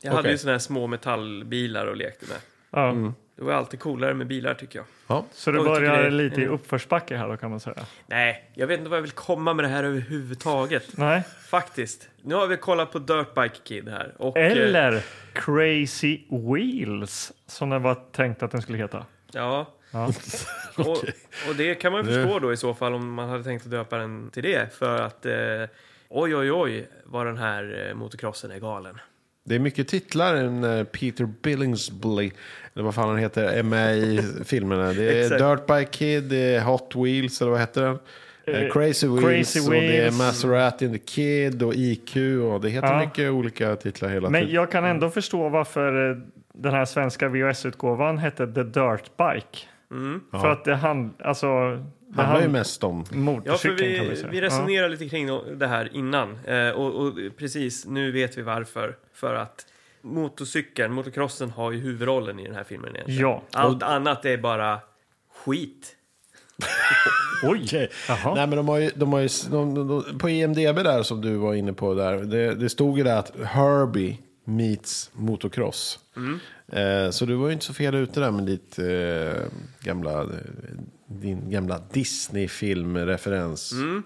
S2: Jag hade
S3: Okej.
S2: ju såna här små metallbilar och lekte med.
S1: ja.
S2: Det var alltid coolare med bilar tycker jag.
S3: Ja.
S1: Så det
S2: Mm. Och jag tycker
S1: börjar
S2: det Mm. är-
S1: lite i uppförsbacke här då, kan man säga?
S2: Nej, jag vet inte vad jag vill komma med det här överhuvudtaget.
S1: Nej.
S2: Faktiskt. Nu har vi kollat på Dirtbike Kid här. Och, eh,
S1: Eller Crazy Wheels, som den var tänkt att den skulle heta.
S2: Ja.
S1: Ja.
S2: och, och det kan man ju förstå då i så fall om man hade tänkt att döpa den till det. För att eh, oj, oj, oj vad den här eh, motocrossen är galen.
S3: Det är mycket titlar än eh, Peter Billingsley, eller vad fan han heter, är med i filmerna. Det är
S2: Exakt.
S3: Dirtbike Kid, det är Hot Wheels, eller vad heter den? Eh,
S1: Eh,
S3: Crazy Wheels,
S1: Crazy
S3: och det är
S1: Wheels.
S3: Maserati and the Kid och IQ. Och det heter
S1: Ja.
S3: mycket olika titlar hela
S1: Men
S3: tiden.
S1: jag kan ändå förstå varför eh, den här svenska VHS-utgåvan hette The Dirt Bike.
S2: Mm.
S1: För att det hand, alltså, det
S3: Det handlar ju
S1: hand-
S3: mest om...
S2: Ja, för
S1: motorcykeln kan man
S2: vi,
S1: säga.
S2: vi resonerar lite kring det här innan. Eh, och, och precis, nu vet vi varför. För att motorcykeln, motocrossen har ju huvudrollen i den här filmen egentligen.
S1: Ja.
S2: Allt annat är bara skit.
S1: ja. Oj! Jaha.
S3: Nej, men de har ju, de har ju, de, de, de, på E IMDB där som du var inne på där, det, det stod ju där att Herbie meets motocross.
S1: Mm.
S3: Eh, så du var ju inte så fel ute där med ditt eh, gamla, eh, din gamla Disney-filmreferens.
S1: Mm.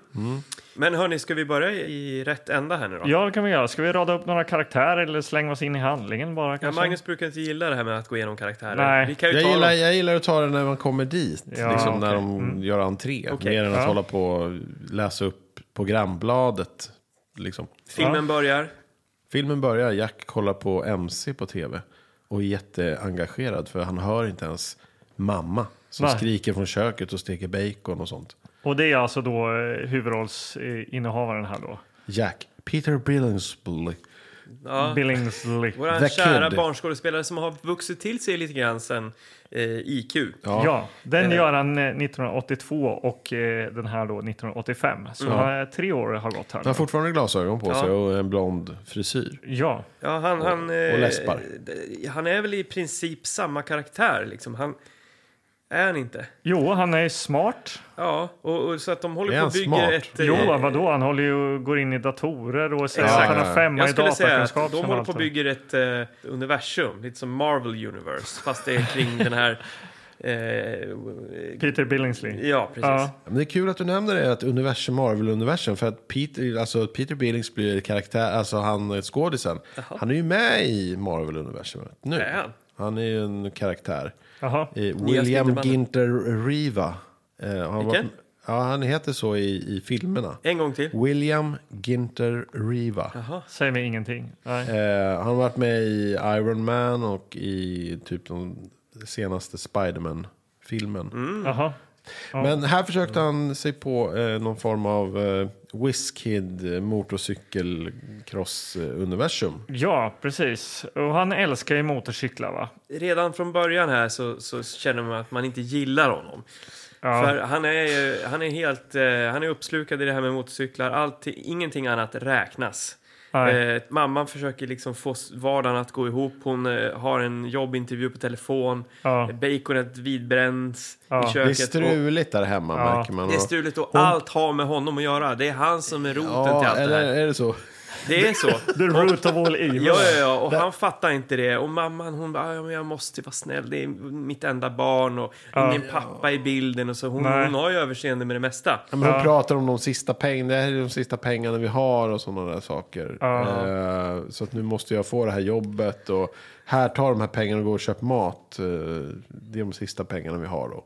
S2: Men hörni, ska vi börja i rätt ända här nu då?
S1: Ja, det kan vi göra. Ska vi rada upp några karaktärer eller slänga oss in i handlingen bara?
S2: Ja,
S1: Kanske?
S2: Magnus brukar inte gilla det här med att gå igenom karaktärer.
S1: Nej.
S2: Vi kan ju
S3: Jag,
S2: ta dem.
S3: gillar, jag gillar att ta det när man kommer dit,
S1: Ja,
S3: liksom
S1: okej. Mm.
S3: när de gör entré.
S2: Okej.
S3: Mer än att
S1: Ja.
S3: hålla på och läsa upp programbladet. Liksom.
S2: Filmen börjar.
S3: Filmen börjar, Jack kollar på MC på tv och är jätteengagerad för han hör inte ens mamma som
S1: Nej.
S3: skriker från köket och steker bacon och sånt.
S1: Och det är alltså då eh, huvudrollsinnehavaren här då.
S3: Jack, Peter Billingsley. Mm.
S2: Ja.
S1: Billingsley.
S2: Vår
S3: The
S2: kära
S3: Kid.
S2: barnskådespelare som har vuxit till sig lite grann sen eh, IQ.
S1: Ja. den gör han eh, 1982 och eh, den här då 1985. Så
S2: Mm.
S1: eh, tre år har gått här.
S3: Han har fortfarande glasögon på
S2: Ja.
S3: sig och en blond frisyr.
S1: Ja,
S2: Ja, han, han, eh,
S3: och läspar.
S2: d- han är väl i princip samma karaktär. Liksom. Han, är han inte?
S1: jo, han är smart.
S2: Ja, och, och så att de håller
S3: Är
S2: på och
S3: han
S2: bygger
S3: smart?
S2: ett...
S1: Jo,
S2: eh,
S1: vadå? Han håller ju, går in i datorer och säger
S2: Exakt.
S1: att han har femma
S2: Jag
S1: i
S2: skulle säga att
S1: datakunskap.
S2: de
S1: sen
S2: håller
S1: allt
S2: på och
S1: det.
S2: bygger ett eh, universum, lite som Marvel Universe, fast det är kring den här... Eh,
S1: Peter Billingsley.
S2: ja, precis.
S1: Ja.
S3: Men det är kul att du nämner det, att universum Marvel-universum. För att Peter, alltså Peter Billings blir karaktär, alltså han är skådisen. Han är ju med i Marvel-universumet nu.
S2: Är han?
S3: Han är ju en karaktär.
S1: Jaha.
S3: Eh,
S2: Nya
S3: William
S2: Spiderman.
S3: Ginter Riva. Eh, han, var,
S2: Vilken?
S3: ja, han heter så i, i filmerna.
S2: En gång till.
S3: William Ginter Riva.
S1: Säger mig ingenting. Nej.
S3: Eh, han har varit med i Iron Man och i typ de senaste Spiderman-filmen.
S2: Mm.
S1: Jaha.
S3: Men här försökte han sig på eh, någon form av eh, Whiskid motorcykelcross-universum.
S1: Ja, precis. Och han älskar ju motorcyklar, va?
S2: redan från början här så, så känner man att man inte gillar honom.
S1: Ja.
S2: För han är, ju- han är helt eh, han är uppslukad i det här med motorcyklar. Allt, ingenting annat räknas.
S1: Nej.
S2: Eh, mamman försöker liksom få s- vardagen att gå ihop. Hon eh, har en jobbintervju på telefon.
S1: Ja.
S2: Baconet vidbränns
S1: Ja.
S2: i
S3: Det är
S2: köket. och
S3: struligt där hemma
S1: Ja.
S3: märker man.
S2: det är
S3: Och-
S2: struligt och allt har med honom att göra. Det är han som är roten till
S3: Ja,
S2: allt det
S3: eller
S2: här.
S3: är det så?
S2: Det är så.
S1: The root of all evil.
S2: Ja, ja, ja. Och han fattar inte det. Och mamman, hon bara, ja, men jag måste vara snäll. Det är mitt enda barn och ingen pappa i bilden. Och så hon,
S1: Nej.
S2: hon har ju överseende med det mesta.
S3: Men hon pratar om de sista pengarna, det här är de sista pengarna vi har och sådana där saker. Eh, så att nu måste jag få det här jobbet och här tar de här pengarna och går och köper mat. Eh, det är de sista pengarna vi har då.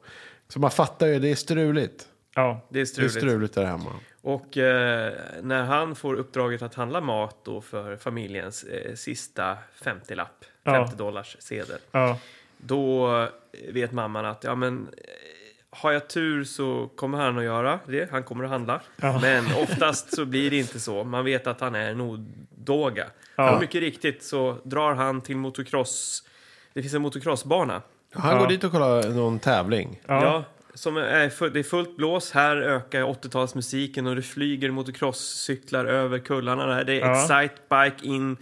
S3: Så man fattar ju, det är struligt.
S1: Ja.
S2: Det är
S3: Det är
S2: struligt.
S3: struligt där hemma.
S2: Och eh, när han får uppdraget att handla mat då för familjens eh, sista 50-lapp, 50 dollars sedel.
S1: Ja.
S2: Då eh, vet mamman att ja, men, eh, har jag tur så kommer han att göra det. Han kommer att handla. Men oftast så blir det inte så. Man vet att han är en odåga. Och mycket riktigt så drar han till motocross. Det finns en motocrossbana.
S3: Han går dit och kollar någon tävling.
S2: Ja. som är full, det är fullt blås. Här ökar 80-talsmusiken och det flyger motocrosscyklar över kullarna. Där. Det är Excite Bike in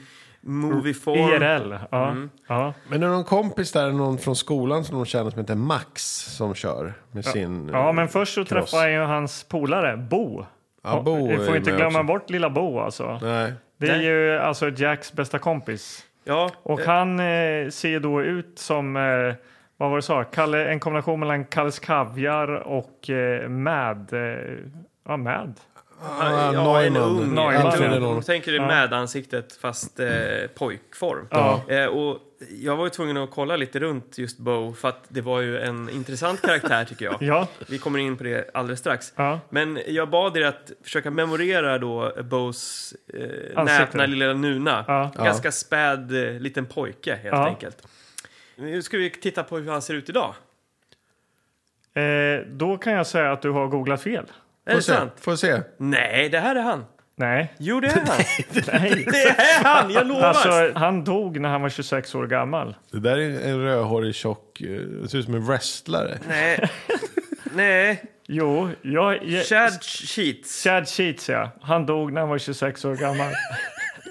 S2: Movieform.
S1: IRL. E Ja.
S2: Mm.
S1: Ja.
S3: Men det är någon kompis där, någon från skolan som de känner som heter Max som kör med sin... eh,
S1: ja, men först så
S3: Kross.
S1: träffar han ju hans polare Bo.
S3: Ja, Bo
S1: Vi
S3: är
S1: får
S3: med
S1: inte glömma
S3: också.
S1: bort lilla Bo alltså.
S3: Nej.
S1: Det är ju alltså Jacks bästa kompis.
S2: Ja,
S1: Och han eh, ser då ut som, eh, vad var det du sa, Kalle, en kombination mellan Kalles Kaviar och eh, Mad. Eh, ja, Mad.
S2: han, ja, en
S3: Neumann.
S2: ung.
S1: Neumann.
S2: en
S1: Jag tror det
S3: är
S2: ung.
S3: Neumann.
S2: Tänker du med ansiktet fast eh, pojkform. Eh, och jag var ju tvungen att kolla lite runt just Bo för att det var ju en intressant karaktär tycker jag.
S1: Ja.
S2: Vi kommer in på det alldeles strax.
S1: Ja.
S2: Men jag bad er att försöka memorera då Bos eh,
S1: Ansikte.
S2: näpna lilla nuna.
S1: Ja.
S2: Ganska späd eh, liten pojke helt
S1: Ja.
S2: enkelt. Nu ska vi titta på hur han ser ut idag.
S1: Eh, då kan jag säga att du har googlat fel.
S2: Är det
S3: Får se.
S2: sant?
S3: Får se.
S2: Nej, det här är han.
S1: Nej.
S2: Jo, det är han.
S1: Nej.
S2: det är han, jag lovar!
S1: Alltså, han dog när han var 26 år gammal.
S3: Det där är en rödhårig tjock, eh, det ser ut som en wrestlare.
S2: Nej. Nej.
S1: Jo, jag... jag
S2: Chad Sheets.
S1: Chad Sheets, ja. Han dog när han var 26 år gammal.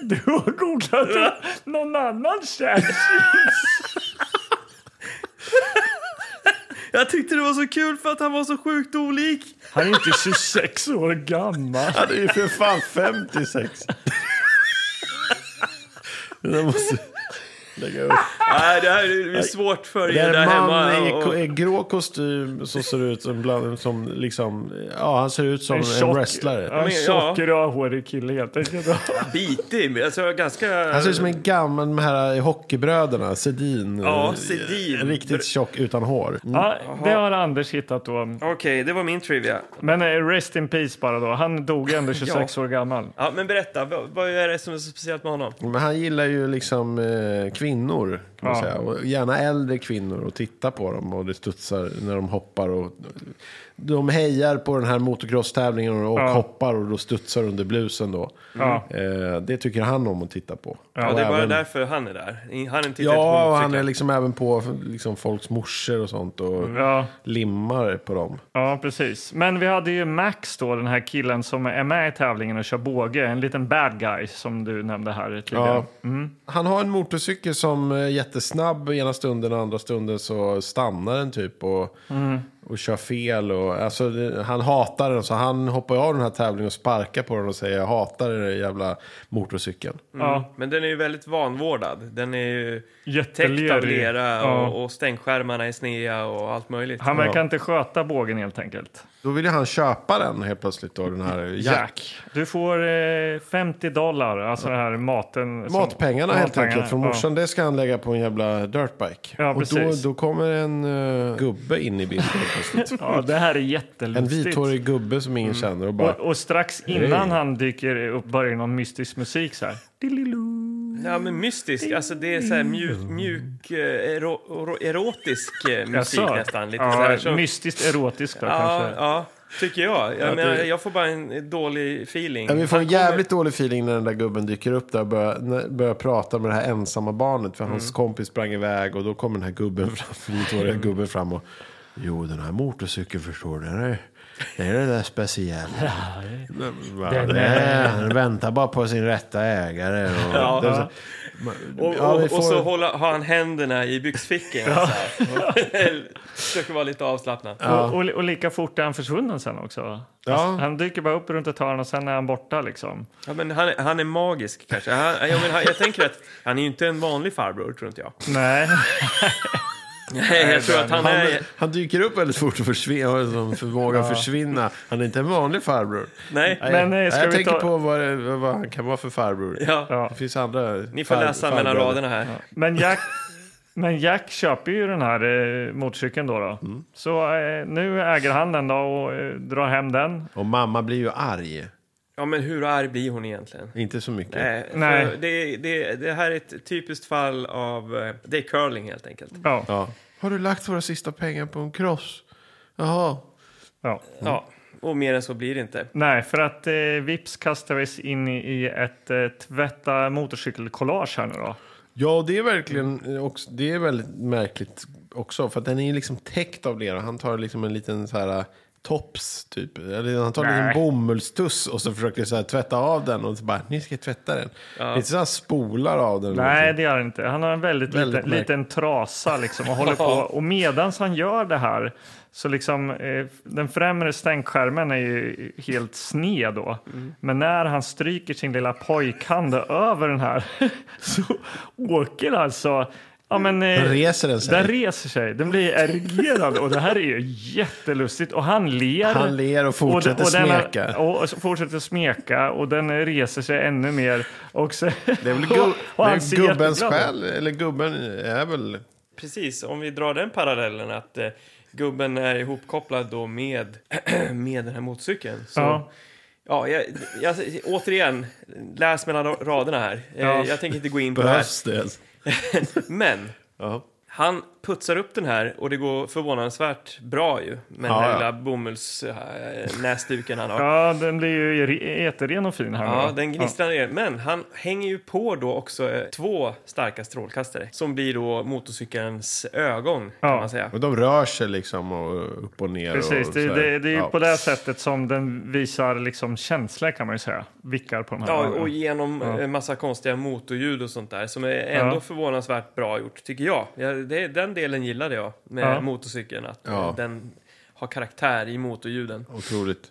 S1: Du har googlat någon annan Chad
S2: Jag tyckte det var så kul för att han var så sjukt olik.
S1: Han är inte 26 år gammal.
S3: Han är ju för fan 56. Det där måste lägga upp.
S2: Nej, det här är det är svårt för
S3: Ah. Det
S2: er
S3: är
S2: där
S3: en man
S2: hemma.
S3: i,
S2: Och,
S3: ko- i grå kostym som ser ut som, bland, som liksom, ja han ser ut som en,
S1: tjock-
S3: wrestlare.
S1: Ja, En
S2: Men, ja.
S1: tjock, rödhårig kille helt enkelt.
S2: bitig, men alltså jag är ganska...
S3: Han ser ut som en gammal, de här hockeybröderna, Sedin.
S2: Ja, Sedin.
S3: Riktigt tjock utan hår.
S1: Ja, det har Anders hittat då.
S2: Okej, det var min trivia.
S1: Men eh, rest in peace bara då. Han dog ju ändå 26 år gammal.
S2: Ja, men berätta, vad, vad är det som är så speciellt med honom?
S3: Men han gillar ju liksom eh, kvinnor, kan man
S1: Ja.
S3: säga. Och gärna äldre kvinnor och titta på dem och det studsar när de hoppar. Och, de hejar på den här motocross-tävlingen och
S1: Ja.
S3: hoppar och då studsar under blusen då.
S1: Ja.
S3: Eh, det tycker han om att titta på.
S2: Ja, det är bara
S3: även,
S2: därför han är där. Han tittar
S3: Ja, och
S2: inte typ
S3: han
S2: på
S3: är
S2: motorcyklar.
S3: liksom även på liksom, folks morsor och sånt och
S1: Ja,
S3: limmar på dem.
S1: ja, precis. Men vi hade ju Max då, den här killen som är med i tävlingen och kör båge. En liten bad guy som du nämnde här tidigare.
S3: Ja.
S1: Mm.
S3: Han har en motorcykel som är jättesnabb ena stunden och andra stunden så stannar den typ och,
S1: Mm.
S3: och kör fel. Och, alltså, det- han hatar den så han hoppar av den här tävlingen och sparkar på den och säger jag hatar den där jävla motorcykeln.
S1: Ja,
S2: Men den är ju väldigt vanvårdad. Den är ju täckt av
S1: jättelerig.
S2: lera
S1: Ja.
S2: och, och stänkskärmarna är snea och allt möjligt.
S1: Han verkar inte sköta bågen helt enkelt.
S3: Då vill ju han köpa den helt plötsligt då, den här Jack.
S1: Du får eh, 50 dollar, alltså den här maten. som-
S3: Matpengarna helt
S1: matpengarna,
S3: enkelt från morsan, det ska han lägga på en jävla dirtbike.
S1: Ja,
S3: och då,
S1: precis.
S3: då kommer en eh, gubbe in i bilden helt plötsligt.
S1: Ja. ja, det här är
S3: En
S1: jättelustigt.
S3: vithårig gubbe som ingen känner och bara...
S1: Mm. Och, och strax innan
S3: Hej.
S1: han dyker upp börjar någon mystisk musik så här.
S2: Ja, men mystisk. Alltså det är så här mjuk, mjuk eh, ero, ero- erotisk eh, musik
S1: Jaså?
S2: nästan. Lite så här,
S1: ja,
S2: som,
S1: Mystiskt erotisk då
S2: ja,
S1: kanske.
S2: ja, tycker jag. Jag, menar,
S3: det-
S2: jag får bara en dålig feeling.
S3: Ja, vi får en
S2: Han kommer-
S3: jävligt dålig feeling när den där gubben dyker upp där och börjar, när- börjar prata med det här
S2: Mm.
S3: ensamma barnet. För hans kompis sprang iväg och då kommer den här gubben fram, den gubben fram och
S5: Jo, den här motorcykeln förstår du, den är, det är det där speciella.
S1: Den
S5: Den, är, den väntar bara på sin rätta ägare. Och,
S2: Ja.
S5: det är så-
S2: Och,
S5: Ja, vi
S2: och, och så
S5: får-
S2: hålla, har han händerna i byxfickorna. så här. Försöker vara lite avslappnad.
S1: Och, och, och lika fort är han försvunnen sen också. Han, han dyker bara upp runt ett hörn och sen är han borta liksom.
S2: Ja, men han, är- han är magisk kanske. Han, jag, men, han, jag tänker att han är ju inte en vanlig farbror, tror inte jag.
S1: Nej.
S2: Nej, jag tror att han
S5: han,
S2: är...
S5: han dyker upp väldigt fort och försvinner, har en förmåga att försvinna. Han är inte en vanlig farbror.
S2: Nej.
S1: Men, eh, ska
S5: jag
S1: vi
S5: tänker
S1: ta-
S5: på vad, det- vad han kan vara för farbror.
S2: Ja.
S1: Ja.
S5: Det finns andra
S2: Ni får läsa mellan raderna här.
S1: Men Jack, men Jack köper ju den här eh, motorcykeln då. då.
S3: Mm.
S1: Så eh, nu äger han den då och eh, drar hem den.
S5: Och mamma blir ju arg.
S2: Ja, men hur arg blir hon egentligen?
S5: Inte så mycket.
S2: Nej, för
S1: Nej.
S2: Det, det, det här är ett typiskt fall av... eh, Det är curling helt enkelt.
S1: Ja, ja.
S5: Ja. Har du lagt våra sista pengar på en kross? Jaha.
S2: Ja, och mer än så blir det inte.
S1: Nej, för att eh, vips kastar vi oss in i- i ett eh, tvätta motorcykelkollage här nu då.
S3: Ja, och det är verkligen eh, också, det är väldigt märkligt också. För att den är ju liksom täckt av lera. Han tar liksom en liten så här eh, tops typ. Eller han tar en
S1: Nej.
S3: liten bomullstuss och så försöker så här tvätta av den. Och så bara, ni ska tvätta den. Det är inte så han spolar av den. liksom.
S1: Nej, det gör han inte. Han har en väldigt,
S3: Väldigt
S1: liten,
S3: märk-
S1: liten trasa liksom och håller på. Och medans han gör det här så liksom eh, den främre stänkskärmen är ju helt sned då.
S3: Mm.
S1: Men när han stryker sin lilla pojkhand över den här så åker alltså Ja, men, eh,
S3: Den reser den sig.
S1: Den reser sig. Den blir erigerad och det här är ju jättelustigt. Och han ler.
S3: Han ler och fortsätter
S1: den-
S3: smeka.
S1: och så fortsätter smeka och den reser sig ännu mer. Och så,
S3: Det är väl
S1: och-
S3: gu-
S1: och
S3: det
S1: han
S3: är
S1: ser
S3: gubbens
S1: jätteglad ut.
S3: själ, eller gubben är väl...
S2: Precis, om vi drar den parallellen att eh, gubben är ihopkopplad då med, med den här motorcykeln. Så, ja.
S1: Ja.
S2: jag, jag, återigen, läs mellan raderna här. Eh,
S1: Ja.
S2: Jag tänker inte gå in på det här.
S3: Behövs det?
S2: Men
S3: Ja.
S2: han putsar upp den här och det går förvånansvärt bra ju. Med den
S3: Ja,
S2: här
S3: ja.
S2: lilla bomullsnäsduken han har.
S1: Ja, den blir ju re- jätteren och fin här
S2: Ja,
S1: nu.
S2: den gnistrar ner. Men han hänger ju på då också eh, två starka strålkastare som blir då motorcykelns ögon kan
S1: Ja.
S2: man säga.
S3: Och de rör sig liksom och upp och ner.
S1: Precis,
S3: och
S1: det,
S3: så här.
S1: det, det är ju
S3: Ja.
S1: på det sättet som den visar liksom känslor kan man ju säga. Vickar på de här.
S2: Ja,
S1: ögonen.
S2: och genom en massa konstiga motorljud och sånt där som är ändå
S1: Ja.
S2: förvånansvärt bra gjort tycker jag. Ja, det, den delen gillade jag med
S1: Ja.
S2: motorcykeln, att eh,
S3: Ja.
S2: den har karaktär i motorljuden.
S3: Otroligt.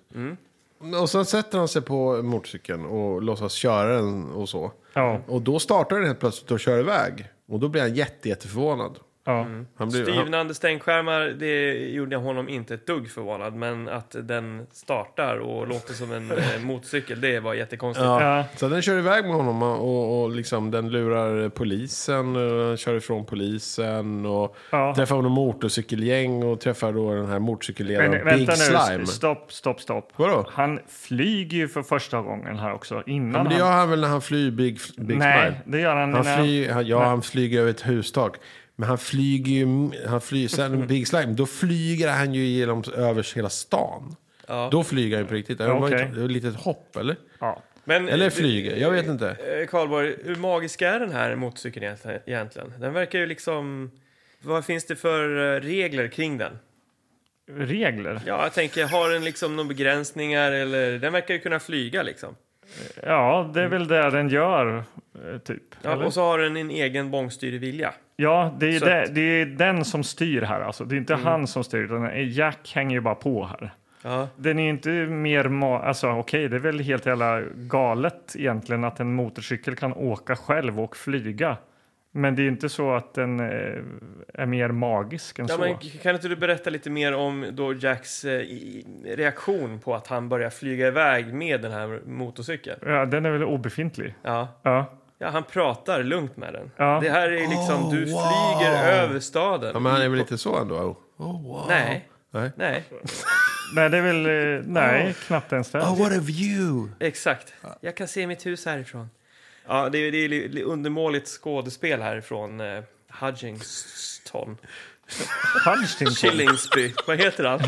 S3: Och sen sätter han sig på motorcykeln och låtsas köra den och så.
S1: Ja.
S3: Och då startar den helt plötsligt och kör iväg. Och då blir han jätte, jätteförvånad.
S1: ja.
S2: Mm.
S3: Han blir, han,
S2: Stivnande stänkskärmar, det gjorde honom inte ett dugg förvånad, men att den startar och låter som en eh, motorcykel, det var jättekonstigt.
S1: Ja.
S3: Så den kör iväg med honom och, och liksom, den lurar polisen, och kör ifrån polisen och
S1: Ja.
S3: träffar honom motorcykelgäng och träffar då den här motorcykelledaren
S1: Men vänta
S3: Big
S1: nu,
S3: Slime.
S1: stopp, stopp, stopp.
S3: Vadå?
S1: Han flyger ju för första gången här också. Innan
S3: Men det
S1: han...
S3: gör han väl när han flyr Big, Big
S1: Nej,
S3: Smile?
S1: det gör han,
S3: Han
S1: när-
S3: flyger, han, ja, han flyger över ett hustak. Men han flyger ju, han flyger, sen Big Slime, då flyger han ju genom, över hela stan. Då flyger han ju på riktigt. Det var
S1: Okej.
S3: ett det var ett litet hopp, eller?
S1: Ja.
S2: Men,
S3: Eller
S2: eh,
S3: flyger, jag vet inte.
S2: Eh, Karlborg, hur magisk är den här motorcykeln egent- egentligen? Den verkar ju liksom... Vad finns det för eh, regler kring den?
S1: Regler?
S2: Ja, jag tänker, har den liksom några begränsningar eller... Den verkar ju kunna flyga liksom.
S1: Ja, det är väl det den gör, eh, typ.
S2: Ja,
S1: Eller?
S2: och så har den en egen bångstyrig vilja.
S1: Ja, det är, ju
S2: Så
S1: det,
S2: att- Mm.
S1: det är ju den som styr här. Alltså. Det är inte han som styr, utan Jack hänger ju bara på här.
S2: Ja.
S1: Den är ju inte mer... Ma- alltså, okej, det är väl helt jävla galet egentligen att en motorcykel kan åka själv och flyga. Men det är ju inte så att den eh, är mer magisk än
S2: Ja,
S1: så.
S2: men kan inte du berätta lite mer om då Jacks eh, i- reaktion på att han börjar flyga iväg med den här motorcykeln?
S1: Ja, den är väl obefintlig.
S2: Ja.
S1: Ja.
S2: ja, han pratar lugnt med den.
S1: Ja.
S2: Det här är liksom, du flyger över staden.
S3: Oh, Ja, men han är väl lite så ändå? Oh, wow.
S2: Nej.
S3: Nej.
S2: Nej,
S1: Nej, det är väl... eh, Nej, knappt ens det.
S2: Oh.
S5: what a view!
S2: Exakt. Jag kan se mitt hus härifrån. Ja, det, är- det är li- li- undermåligt skådespel härifrån eh, Hutchinson.
S1: Huntington.
S2: Killingsby, vad heter han?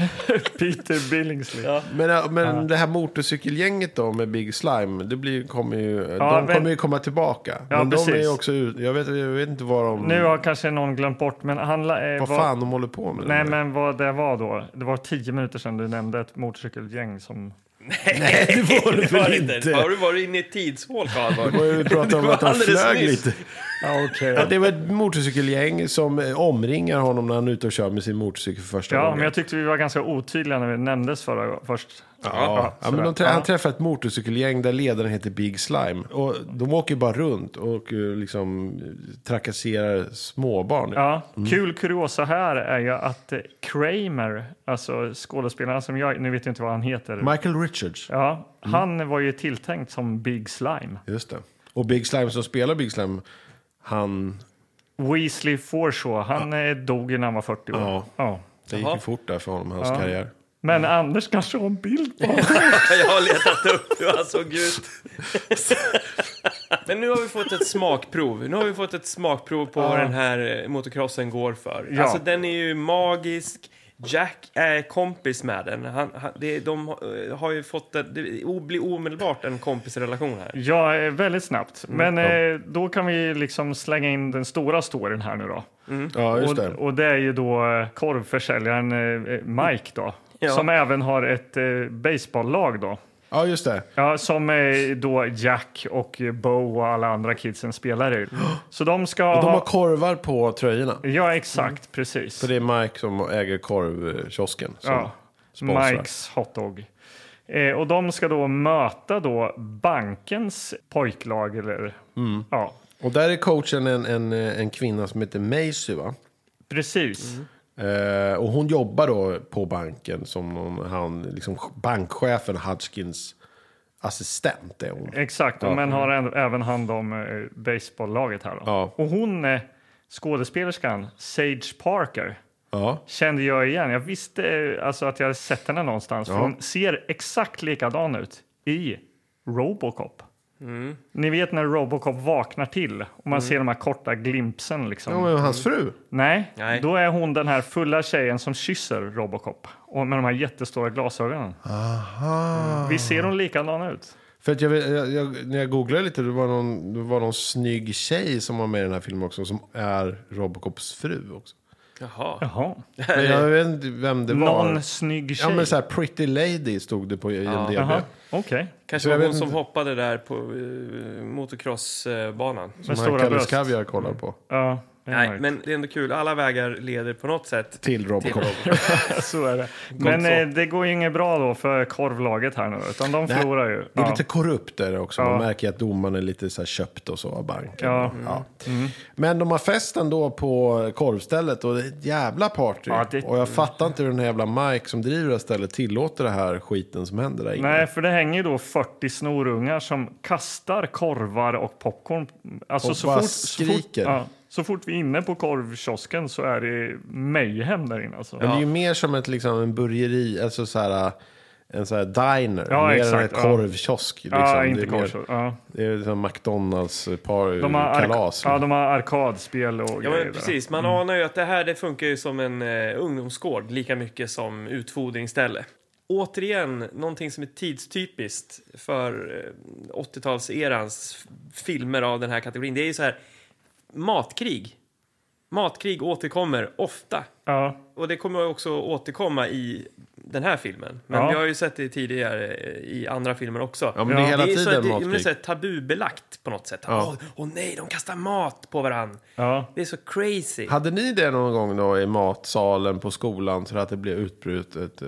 S1: Peter Billingsley. Ja.
S3: Men, äh, men det här motorcykelgänget då med Big Slime, det blir, kommer ju,
S1: Ja,
S3: de
S1: men-
S3: kommer ju komma tillbaka.
S1: Ja,
S3: men de är ju
S1: precis.
S3: också ut, jag vet, jag vet inte vad de,
S1: Nu har kanske någon glömt bort, men han... la- Eh,
S3: vad
S1: var-
S3: fan de håller på med.
S1: Nej, men vad det var då. Det var tio minuter sedan du nämnde ett motorcykelgäng som...
S2: Nej, det var
S3: det väl inte.
S2: Har du varit inne i ett tidshål, Karl? Var
S3: Och Vi pratade om
S2: var
S3: att han
S2: alldeles
S3: flög
S2: nyss.
S3: lite.
S1: Ja, okej.
S3: Ja, det var ett motorcykelgäng som eh, omringar honom när han är ute och kör med sin motorcykel för första
S1: Ja,
S3: gången.
S1: men jag tyckte vi var ganska otydliga när vi nämndes förra först.
S3: Ja, ja, men de trä-
S1: Ja.
S3: han träffar ett motorcykelgäng där ledaren heter Big Slime. Och de åker bara runt och eh, liksom eh, trakasserar småbarn.
S1: Ja, kul kuriosa här är ju att eh, Kramer, alltså skådespelaren som jag, nu vet jag inte vad han heter.
S3: Michael Richards,
S1: ja, han var ju tilltänkt som Big Slime.
S3: just det. Och Big Slime som spelar Big Slime, han...
S1: Weasley Forshaw, han eh, dog ju när han var 40 år.
S3: Ja.
S1: Ja.
S3: Det gick ju fort där för honom, hans karriär.
S1: Men Anders kanske har en bild på
S2: Jag har letat upp hur han såg ut. Men nu har vi fått ett smakprov. Nu har vi fått ett smakprov på vad den här eh, motocrossen går för.
S1: Ja.
S2: Alltså den är ju magisk. Jack är kompis med den. Han, han, det, de eh, har ju fått det, det o- blir omedelbart en kompisrelation här.
S1: Ja, eh, väldigt snabbt. Men eh, då kan vi liksom slänga in den stora storyn här nu då.
S3: Ja, just
S1: och,
S3: det.
S1: och det är ju då eh, korvförsäljaren eh, Mike då.
S2: Ja.
S1: Som även har ett eh, baseballlag då.
S3: Ja, just det.
S1: Ja, som eh, då Jack och eh, Bo och alla andra kidsen spelar i. Så de ska
S3: De har
S1: ha...
S3: korvar på tröjorna.
S1: Ja, exakt, precis.
S3: Så det är Mike som äger korvkiosken. Som
S1: ja.
S3: sponsrar.
S1: Mikes hotdog. Eh, och de ska då möta då bankens pojklag eller...
S3: Mm.
S1: Ja,
S3: Och där är coachen en, en, en kvinna som heter Macy, va?
S1: precis.
S3: Eh, och hon jobbar då på banken som någon, han, liksom bankchefen Hudskins assistent är hon.
S1: Exakt,
S3: Ja.
S1: men har än- även hand om eh, baseballlaget här. Då.
S3: Ja.
S1: Och hon, eh, skådespelerskan Sage Parker,
S3: Ja.
S1: kände jag igen. Jag visste eh, alltså, att jag hade sett henne någonstans. För
S3: Ja.
S1: hon ser exakt likadan ut i Robocop. Ni vet när Robocop vaknar till och man ser de här korta glimpsen. Liksom.
S3: Ja, men hans fru.
S1: Nej,
S2: Nej.
S1: då är hon den här fulla tjejen som kysser Robocop. Och med de här jättestora glasögonen. Aha. Vi ser hon likadan ut?
S3: För att jag, vet- jag, jag, när jag googlade lite, det var, någon, det var någon snygg tjej som var med i den här filmen också, som är Robocops fru också.
S2: Jaha.
S1: Jaha.
S3: Men jag vet inte vem det var.
S1: Någon snygg
S3: Ja,
S1: tjej?
S3: men så här pretty lady stod det på IMDB.
S1: Jaha, okej.
S2: Kanske
S3: Så jag
S2: var hon
S3: vet
S2: som
S3: inte.
S2: hoppade där på uh, motocrossbanan.
S1: Med
S3: Som han
S1: stora
S3: Kalle
S1: bröst.
S3: Skaviar kollar på.
S1: Ja, det är
S2: Nej,
S1: mörkt.
S2: men det är ändå kul. Alla vägar leder på något sätt
S3: Till Robocop.
S1: så är det. Men
S2: så.
S1: eh, det går ju inget bra då för korvlaget här nu, utan de förlorar ju.
S3: Det är
S1: Ja.
S3: lite korrupt är det också. Man
S1: Ja.
S3: märker att domaren är lite så här köpt och så av banken.
S1: Ja. Mm.
S3: Ja. Men de har fest ändå på korvstället och det är ett jävla party.
S1: Ja, det-
S3: Och jag fattar inte hur den här jävla Mike som driver det här stället tillåter det här skiten som händer där inne.
S1: Nej, för det hänger ju då 40 snorungar som kastar korvar och popcorn. Alltså
S3: Och
S1: så
S3: bara
S1: fort, så fort,
S3: skriker.
S1: ja, så fort vi är inne på korvkiosken så är det mayhem där inne alltså.
S3: Men det är ju mer som ett, liksom, en burgeri, alltså så här, en så här diner.
S1: Ja,
S3: mer än en
S1: exakt, ja.
S3: korvkiosk. Liksom.
S1: ja,
S3: Det är
S1: inte
S3: mer-
S1: korvkiosken. Ja.
S3: Det är liksom McDonalds
S1: De, har ark-
S3: par-kalas.
S1: ja, de har arkadspel och
S2: Ja,
S1: grejer
S2: men
S1: där.
S2: precis. Man anar ju att det här det funkar ju som en eh, ungdomsgård lika mycket som utfodringsställe. Återigen, någonting som är tidstypiskt för eh, 80-talserans f- filmer av den här kategorin. Det är ju så här, matkrig. Matkrig återkommer ofta.
S1: Ja.
S2: Och det kommer också återkomma i den här filmen. Men
S1: Ja.
S2: vi har ju sett det tidigare eh, i andra filmer också.
S3: Ja, men det är hela
S2: det är så,
S3: tiden
S2: det, men det är
S3: matkrig.
S2: så här tabubelagt på något sätt. Åh åh nej, de kastar mat på varann.
S1: Ja.
S2: Det är så crazy.
S3: Hade ni det någon gång då i matsalen på skolan så att det blev utbrut ett, eh,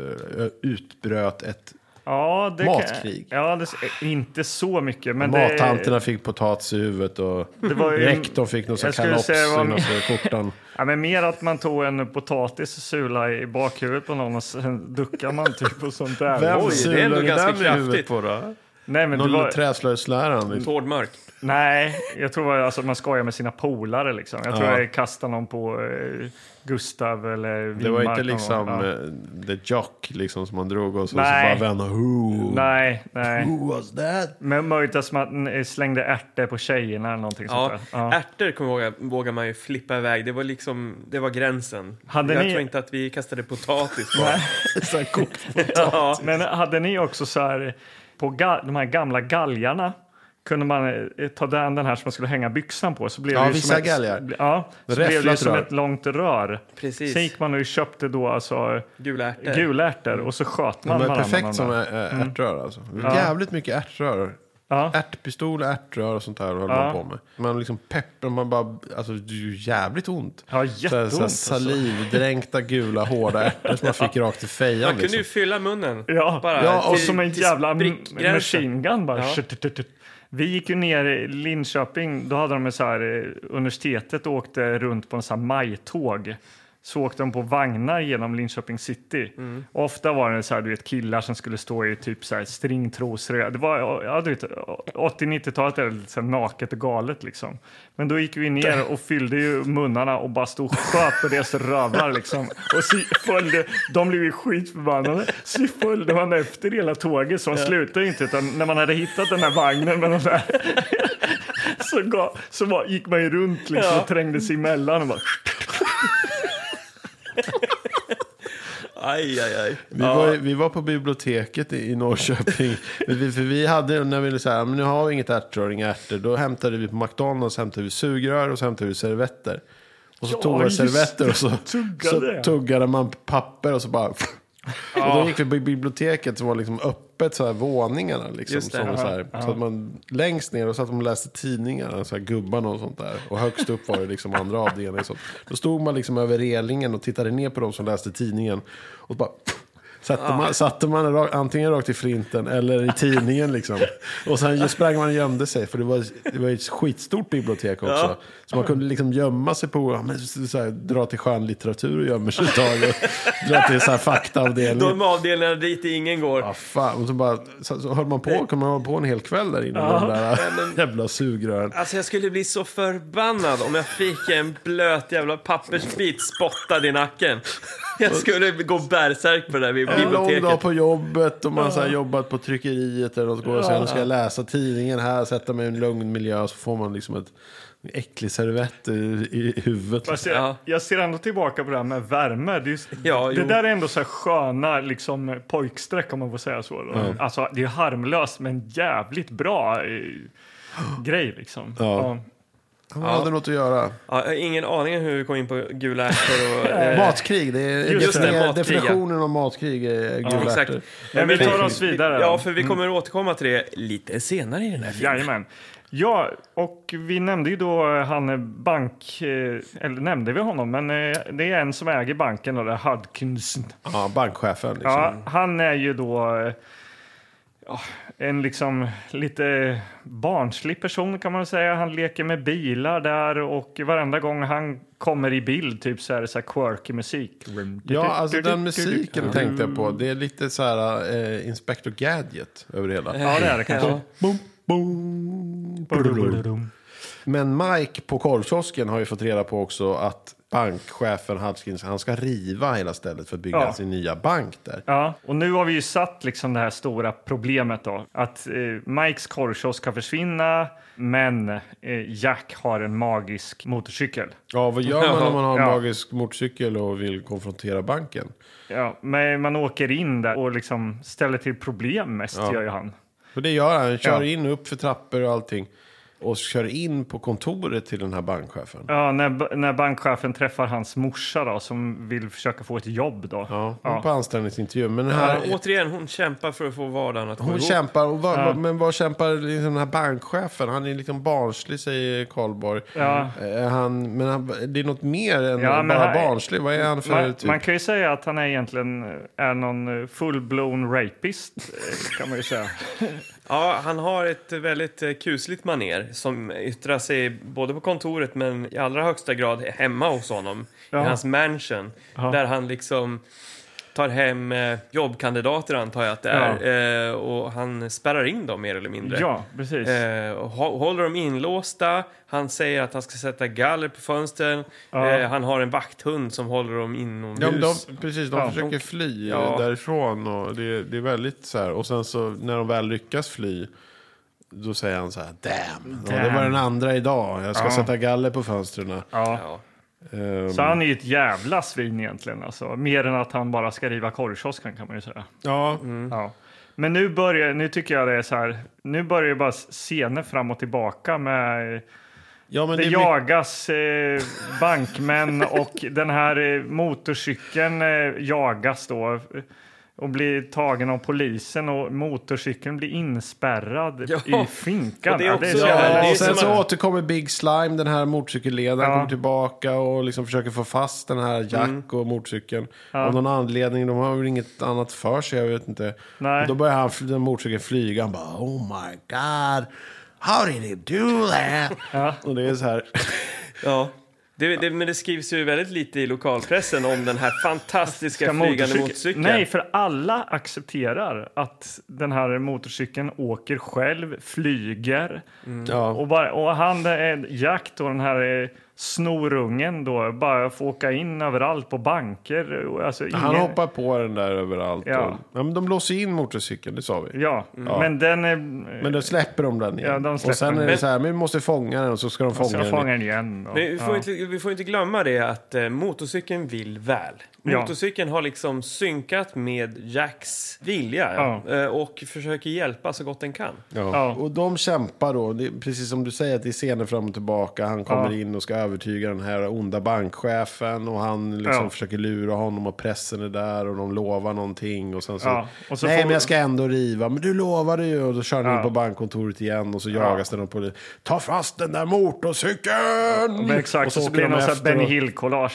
S3: utbröt ett...
S1: Ja, det
S3: Matkrig.
S1: Kan, ja, det, inte så mycket. Men det,
S3: Mattanterna fick potatis i huvudet och
S1: var ju-
S3: rektorn fick någon sån
S1: Jag skulle
S3: kalops
S1: säga det var
S3: i någon
S1: mer-
S3: sån här skjortan.
S1: Ja, men mer att man tog en potatis och sula i bakhuvudet på någon och sen duckar man typ och sånt där.
S3: Vem
S2: Oj, det är ändå
S3: sulade
S2: ganska
S3: den i
S2: kraftigt.
S3: huvudet på då?
S1: Nej, men det
S3: Någon
S1: var,
S3: träslöjdsläraren. liksom.
S2: Tordmörk.
S1: nej, jag tror att alltså, man skojar med sina polare. Liksom. Jag tror
S3: Ja.
S1: jag kastade någon på eh, Gustav eller Wingmark.
S3: Det var inte
S1: någon
S3: liksom
S1: gång. Ja.
S3: eh, the jock liksom, som man drog och så, så
S1: Nej.
S3: bara vända. Who?
S1: Nej, nej.
S5: Who was that?
S1: Men möjligt att man eh, slängde ärtor på tjejerna eller någonting
S2: Ja,
S1: sånt där. Ja.
S2: Ärtor kommer jag ihåg, vågar man ju flippa iväg. Det var liksom, det var gränsen.
S1: Hade
S2: jag
S1: ni-
S2: tror inte att vi kastade potatis bara.
S5: Så här kokt på-
S2: ja.
S1: Men hade ni också så här på ga- de här gamla galgarna kunde man eh, ta den, den här som man skulle hänga byxan på så blev
S3: Ja,
S1: det ju
S3: vissa
S1: som ett,
S3: galgar.
S1: ja, så
S3: Räfflat
S1: blev det ju som
S3: rör.
S1: ett långt rör.
S2: Precis. Eh.
S1: Sen gick man och köpte då alltså
S2: Gula ärtor.
S1: gula ärtor och så sköt man Mm.
S3: De är
S1: varann
S3: perfekt
S1: med
S3: som
S1: dem där.
S3: ä- ä- ärtrör alltså. Jävligt mycket ärtrör.
S1: Ja.
S3: Ärtpistol, ärtrör och sånt där höll
S1: Ja.
S3: man på med. Man liksom peppar, man bara, alltså det är ju jävligt ont.
S1: Ja, jätteont,
S3: Så här- så här
S1: alltså.
S3: salivdränkta gula hårda ärtor som man fick rakt i fejan.
S2: Man kunde ju
S3: liksom.
S2: fylla munnen.
S1: Ja,
S2: Bara
S1: ja och
S2: till-
S1: som en
S2: till
S1: jävla m-
S2: sprickgränsen.
S1: machine gun bara.
S2: Ja.
S1: Tjut-tut-tut. Vi gick ju ner i Linköping, då hade de en så här, eh, universitetet och åkte runt på en sån här majtåg. Så åkte de på vagnar genom Linköping city.
S2: Mm.
S1: Och Ofta var det så här, du vet, killar som skulle stå i typ så här stringtrosor. Det var, ja, du vet, 80-90-talet är det lite så här naket och galet liksom. Men då gick vi ner och fyllde ju munnarna och bara stod och sköt på deras rövar liksom. Och så följde, de blev ju skitförbannade. Så följde man efter hela tåget så man slutade ju inte. Utan när man hade hittat den här vagnen med de där så, ga, så var, gick man ju runt liksom och trängde sig emellan och bara...
S2: Aj, aj, aj.
S3: Vi, var, ju- vi var på biblioteket i, i Norrköping. Men vi, för vi hade, när vi så här, men nu har vi inget ärtrör, inga ärtor. Då hämtade vi på McDonalds, hämtade vi sugrör och så hämtade vi servetter. Och så
S1: Ja,
S3: tog man
S1: just
S3: servetter och så
S1: Tuggade.
S3: tuggade, så tuggade man papper och så bara... Och då gick vi på biblioteket som var liksom öppet, så här våningarna. Liksom,
S2: Just det,
S3: som
S2: ja,
S3: var så, här, så att man längst ner och så att de läste tidningarna, så här, gubbarna och sånt där. Och högst upp var det liksom andra avdelningen. och sånt. Då stod man liksom över relingen och tittade ner på de som läste tidningen. Och bara... Satte man, satte man ra- antingen rakt i flinten eller i tidningen liksom. Och sen ju sprang man och gömde sig för det var, det var ju ett skitstort bibliotek också. Så man kunde liksom gömma sig på, ja, men så så här, dra till skönlitteratur och gömmer sig ett tag. Och dra till så här faktaavdelningen.
S2: De avdelningar dit ingen går.
S3: Ja, fan. Och så, bara, så, så höll man på, kunde man hålla på en hel kväll där inne med de där jävla sugrören.
S2: Alltså jag skulle bli så förbannad om jag fick en blöt jävla pappersbit spottad i nacken. Jag skulle gå bärsärk på det där vid
S3: En lång dag
S2: biblioteket.
S3: på jobbet och man så här jobbat på tryckeriet eller något. Går och säger nu ska jag läsa tidningen här, sätta mig i en lugn miljö. Så får man liksom ett en äcklig servett i, i huvudet.
S1: Fast jag,
S2: Ja.
S1: jag ser ändå tillbaka på det här med värme. Det, är ju,
S2: Ja,
S1: det
S2: jo.
S1: där är ändå så här sköna liksom, pojkstreck om man får säga så. Alltså, det är harmlöst men jävligt bra eh, grej liksom. Ja.
S3: Man hade något att göra.
S2: Ja, jag har ingen aning om hur vi kom in på gula ärtor och... eh,
S3: Matkrig, det är
S1: Just
S3: defini-
S2: det, matkrig,
S3: definitionen av matkrig är gula
S2: Exakt.
S3: ärtor.
S1: Men vi tar oss vidare. Mm.
S2: Ja, för vi kommer återkomma till det lite senare i den här filmen.
S1: Jajamän. Ja, och vi nämnde ju då han eh, bank... eh, Eller nämnde vi honom? Men eh, det är en som äger banken, och det är Hudkinson.
S3: Ja, bankchefen liksom.
S1: Ja, han är ju då eh, ja, en liksom lite barnslig person kan man säga. Han leker med bilar där och varenda gång han kommer i bild typ så är det så här quirky musik.
S3: Ja, alltså den
S1: Mm.
S3: musiken tänkte jag på. Det är lite så här eh, Inspector Gadget över det hela.
S1: Ja, det är det kanske.
S3: Boom, boom, brudum. Men Mike på korvkiosken har ju fått reda på också att bankchefen Hudskins, han ska riva hela stället för att bygga
S1: Ja.
S3: sin nya bank där.
S1: Ja, och nu har vi ju satt liksom det här stora problemet då. Att eh, Mikes korvkiosk ska försvinna, men eh, Jack har en magisk motorcykel.
S3: Ja, vad gör man om man har en
S1: Ja.
S3: magisk motorcykel och vill konfrontera banken?
S1: Ja, men man åker in där och liksom ställer till problem mest, gör ju han.
S3: För det gör han, han kör
S1: Ja.
S3: in upp för trappor och allting. Och kör in på kontoret till den här bankchefen.
S1: Ja, när, när bankchefen träffar hans morsa då, som vill försöka få ett jobb. Då.
S3: Ja,
S1: Ja.
S3: På anställningsintervju. Men den
S2: Ja,
S3: här,
S2: återigen, hon kämpar för att få vardagen att gå
S3: Hon
S2: ihop.
S3: kämpar, och vad, vad- men vad kämpar liksom den här bankchefen? Han är liksom barnslig säger Karlborg.
S1: Ja.
S3: Eh, Han, men han, det är något mer än
S1: Ja, men
S3: bara
S1: han-
S3: barnslig. Vad är han för
S1: Man,
S3: typ?
S1: man kan ju säga att han är egentligen eh, är någon eh, full-blown rapist. eh, kan man ju säga.
S2: Ja, han har ett väldigt eh, kusligt maner som yttrar sig både på kontoret men i allra högsta grad hemma hos honom, i hans mansion, där han liksom tar hem eh, jobbkandidater antar jag att det är. Eh, och han spärrar in dem mer eller mindre.
S1: Ja, precis.
S2: Eh, och hå- håller dem inlåsta. Han säger att han ska sätta galler på fönstren.
S1: Ja.
S2: Eh, han har en vakthund som håller dem inomhus.
S3: Ja, men de, precis, de
S1: Ja,
S3: försöker fly
S2: Ja.
S3: därifrån och det, det är väldigt så här. Och sen så när de väl lyckas fly, då säger han så här, damn, Ja, det
S1: Damn.
S3: var den andra idag, jag ska sätta galler på fönstren.
S1: Ja.
S2: Ja.
S3: Ehm,
S1: Så han är ju ett jävla svin egentligen. Alltså. Mer än att han bara ska riva korvkiosken kan man ju säga.
S3: ja,
S1: Ja. Men nu börjar, nu tycker jag det är så här, nu börjar ju bara scener fram och tillbaka med
S3: ja, men
S1: det
S3: det är
S1: jagas eh, bankmän och den här eh, motorcykeln eh, jagas då och blir tagen av polisen och motorcykeln blir inspärrad
S2: Ja.
S1: i finkan.
S2: Och det är
S1: Ja, så
S2: också- Ja,
S1: jävla-
S2: det
S3: Ja,
S2: är
S3: och sen
S2: som
S3: så
S2: att-
S3: återkommer Big Slime, den här motorcykelledaren,
S1: Ja.
S3: kommer tillbaka och liksom försöker få fast den här Jack och motorcykeln. Av någon anledning, de har väl inget annat för sig, jag vet inte.
S1: Nej.
S3: Och Då börjar han, den motorcykeln flyga, han bara oh my god, how did he do that? Och det är så här,
S2: Ja. Det, det, men det skrivs ju väldigt lite i lokalpressen om den här fantastiska
S1: Ska
S2: flygande
S1: motorcykel-
S2: motorcykeln.
S1: Nej, för alla accepterar att den här motorcykeln åker själv, flyger.
S3: ja.
S1: Och, bara, och han, eh, Jack, då, den här eh, snorungen, då, bara får åka in överallt på banker. och Alltså, ingen,
S3: Han hoppar på den där överallt.
S1: Ja.
S3: Och, ja, men de låser in motorcykeln, det sa vi.
S1: Ja,
S2: Mm.
S1: men den... eh,
S3: Men då släpper de den igen.
S1: Ja, de släpper
S3: och sen är
S1: den.
S3: det så här, men vi måste fånga den och så ska de fånga
S1: Så jag
S3: den.
S1: fångar den igen. Och,
S2: Men vi får,
S1: ja.
S2: inte, vi får inte glömma det att eh, motorcykeln vill väl.
S1: Ja.
S2: Motorcykeln har liksom synkat med Jacks vilja
S1: Ja.
S2: eh, och försöker hjälpa så gott den kan.
S1: Ja.
S3: Och de kämpar då, det, är precis som du säger, att det är scener fram och tillbaka. Han kommer
S1: Ja.
S3: in och ska övertyga den här onda bankchefen och han liksom
S1: Ja.
S3: försöker lura honom och pressen är där och de lovar någonting och sen så...
S1: Ja, och så
S3: Nej,
S1: får-
S3: men jag ska ändå riva. Men du lovade ju och då kör han
S1: Ja.
S3: in på bankkontoret igen och så jagas den av polis. Ta fast den där motorcykeln!
S1: Men exakt, och så, blir det någon sån här
S3: efter
S1: Benny
S3: och-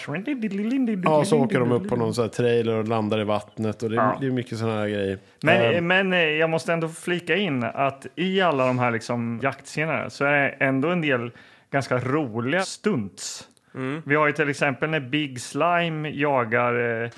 S1: Hill-collage.
S3: Ja, så åker de upp på någon sån här trailer och landar i vattnet och det, är-
S1: Ja.
S3: det är mycket sådana här grejer.
S1: Men,
S3: Ehm,
S1: men eh, jag måste ändå flika in att i alla de här liksom jaktscenerna så är det ändå en del ganska roliga stunts.
S3: Mm.
S1: Vi har ju till exempel när Big Slime jagar eh,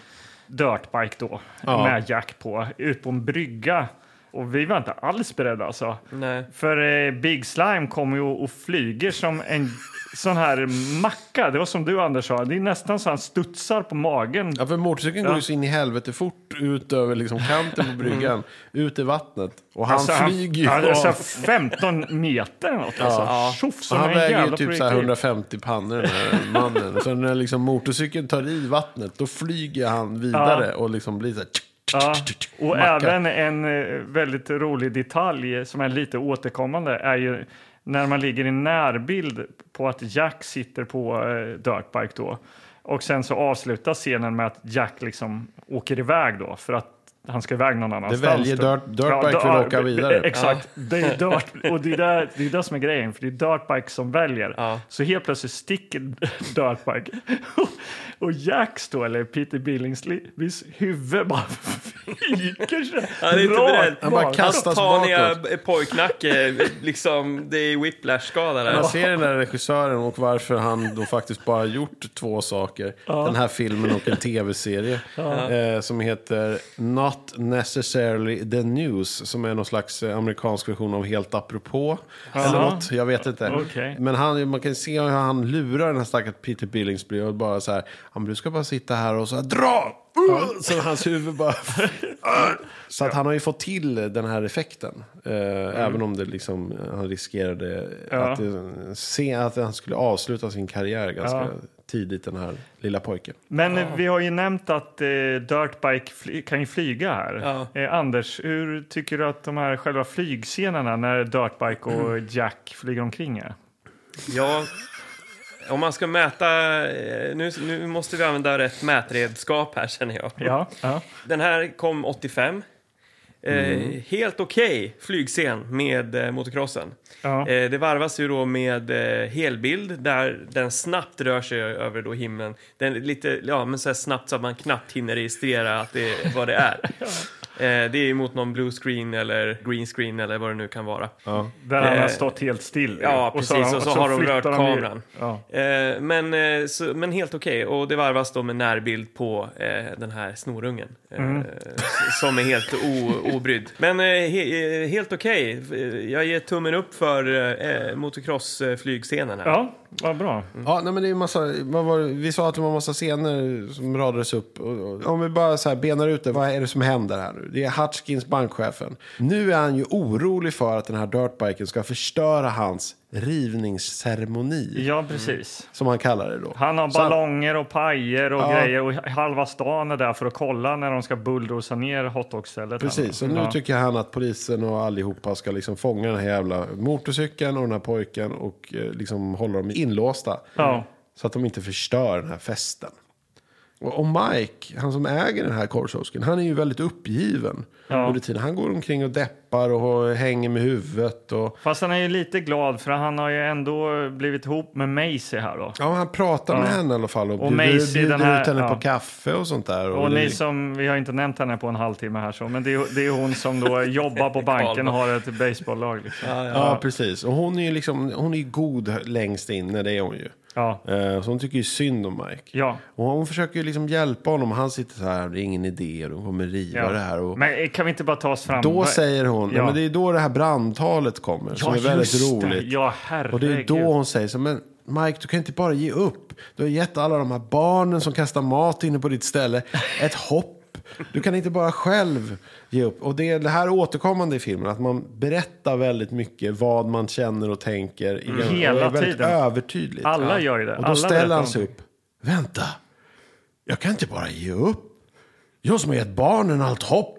S1: Dirtbike då,
S3: Ja.
S1: med Jack på, ut på en brygga. Och vi var inte alls beredda alltså.
S2: Nej.
S1: För eh, Big Slime kommer ju och flyger som en sån här macka. Det var som du Anders sa, det är nästan så han studsar på magen.
S3: Ja, för motorcykeln går ju så in i helvete fort ut över liksom kanten på bryggan, ut i vattnet. Och han
S1: Mm. Alltså,
S3: flyger ju.
S1: han, alltså,
S3: av.
S1: 15 meter eller något. Alltså. Tjoff, som
S3: han
S1: en
S3: väger ju
S1: jävla
S3: typ så här
S1: projektil.
S3: 150 pannor den här mannen. så när liksom motorcykeln tar i vattnet då flyger han vidare och liksom blir så här...
S1: Ja. Och även en eh, väldigt rolig detalj som är lite återkommande är ju när man ligger i närbild på att Jack sitter på eh, dirtbike då. Och sen så avslutas scenen med att Jack liksom åker iväg då för att han ska iväg någon annanstans.
S3: väljer
S1: då.
S3: dirt- dirtbike
S1: då-
S3: vill åka vidare. typ.
S1: Exakt, det är dirt, och det är, där, det är det som är grejen, för det är dirtbike som väljer.
S2: Ja.
S1: Så helt plötsligt sticker dirtbike. och Jacks då, eller Peter Billingsleys huvud bara flyger så
S2: Han är inte beredd.
S3: Han bara kastas
S2: Taniga
S3: bakåt.
S2: eh, pojknacke, liksom, det är whiplash-skada där.
S3: Man ser den där regissören och varför han då faktiskt bara gjort två saker. Den här filmen och en tv-serie. Eh, som heter Not Necessarily the News. Som är någon slags eh, amerikansk version av Helt apropå. Eller
S1: Jaha.
S3: något, jag vet inte.
S1: Okej.
S3: Men han, man kan se hur han lurar den här stackars Peter Billingsby. Och bara så här, han du ska bara sitta här och så här, dra! Uh! Så hans huvud bara... Så att han har ju fått till den här effekten. Eh, Även om det liksom, han riskerade att, det, se, att han skulle avsluta sin karriär ganska tidigt, den här lilla pojken.
S1: Men eh, vi har ju nämnt att eh, Dirtbike fly- kan ju flyga här.
S2: Ja.
S1: Eh, Anders, hur tycker du att de här själva flygscenerna när Dirtbike och
S2: Mm.
S1: Jack flyger omkring är?
S2: Ja, om man ska mäta... eh, Nu, nu måste vi använda rätt mätredskap här, känner jag.
S1: Ja, ja.
S2: Den här kom 85. Eh, helt okej flygscen med eh, motocrossen.
S1: Ja.
S2: Eh, det varvas ju då med eh, helbild där den snabbt rör sig över då himlen. Den är lite, ja, men så här snabbt så att man knappt hinner registrera att det, vad det är. Eh, det är ju mot någon blue screen eller green screen eller vad det nu kan vara.
S1: Där han
S2: Eh,
S1: har stått helt still.
S2: Ja, precis. Och så, har de
S1: flyttar
S2: rört
S1: ju-
S2: kameran.
S1: Ja.
S2: Eh, men, eh, så, men helt okej. Och det varvas då med närbild på eh, den här snorungen. Eh, s- Som är helt o, obrydd. Men eh, he, eh, helt okej. Eh, Jag ger tummen upp för eh, motocross-flygscenen här.
S1: ja, vad bra.
S3: Ja, nej, men det är ju massa, vad var, det- vi sa att det var massa scener som radades upp. Och- och- Om vi bara så här benar ut det, vad är det som händer här nu? Det är Hutchkins, bankchefen. Nu är han ju orolig för att den här dirtbiken ska förstöra hans rivningsceremoni.
S1: Ja, precis.
S3: Som han kallar det då.
S1: Han har
S3: Så
S1: ballonger och pajer och
S3: Ja.
S1: grejer och halva stan är där för att kolla när de ska bulldosa ner hotdogstället.
S3: Precis, och nu
S1: ja.
S3: tycker han att polisen och allihopa ska liksom fånga den här jävla motorcykeln och den här pojken och eh, liksom hålla dem inlåsta.
S1: Ja.
S3: Så att de inte förstör den här festen. Och, och Mike, han som äger den här korvkiosken, han är ju väldigt uppgiven.
S1: Ja.
S3: Under tiden. Han går omkring och deppar och hänger med huvudet. Och,
S1: Fast han är ju lite glad för han har ju ändå blivit ihop med Macy här då.
S3: ja, han pratar med henne i alla fall och,
S1: Och
S3: bjuder,
S1: Macy,
S3: bjuder
S1: den här-
S3: ut henne
S1: ja.
S3: på kaffe och sånt där.
S1: Och ni som, vi har inte nämnt henne på en halvtimme här så, men det är, det är hon som då jobbar på banken och har ett baseballlag. Liksom. Ja,
S3: Ja, precis. Och hon är ju liksom, hon är ju god längst inne, det är hon ju.
S1: ja.
S3: Eh, Så hon tycker ju synd om Mike.
S1: ja.
S3: Och hon försöker ju liksom hjälpa honom. Han sitter så här, det är ingen idé, de kommer riva det här. Och
S1: Men eh, kan vi inte bara ta oss fram?
S3: då
S1: Vad-
S3: säger hon, ja.
S1: Ja.
S3: men det är då det här brandtalet kommer. som är väldigt
S1: just det.
S3: roligt.
S1: Ja,
S3: och det är
S1: herregud.
S3: då hon säger så, men Mike, du kan inte bara ge upp. Du har gett alla de här barnen som kastar mat inne på ditt ställe ett hopp. Du kan inte bara själv ge upp. Och det, är det här återkommande i filmen, att man berättar väldigt mycket vad man känner och tänker. i den-
S1: Hela
S3: och det är väldigt
S1: tiden.
S3: övertydligt.
S1: Alla gör ju det.
S3: Och då
S1: Eh, Alla
S3: ställer
S1: berättar
S3: han sig
S1: någonting.
S3: upp. Vänta, jag kan inte bara ge upp. Jag som har gett barnen allt hopp.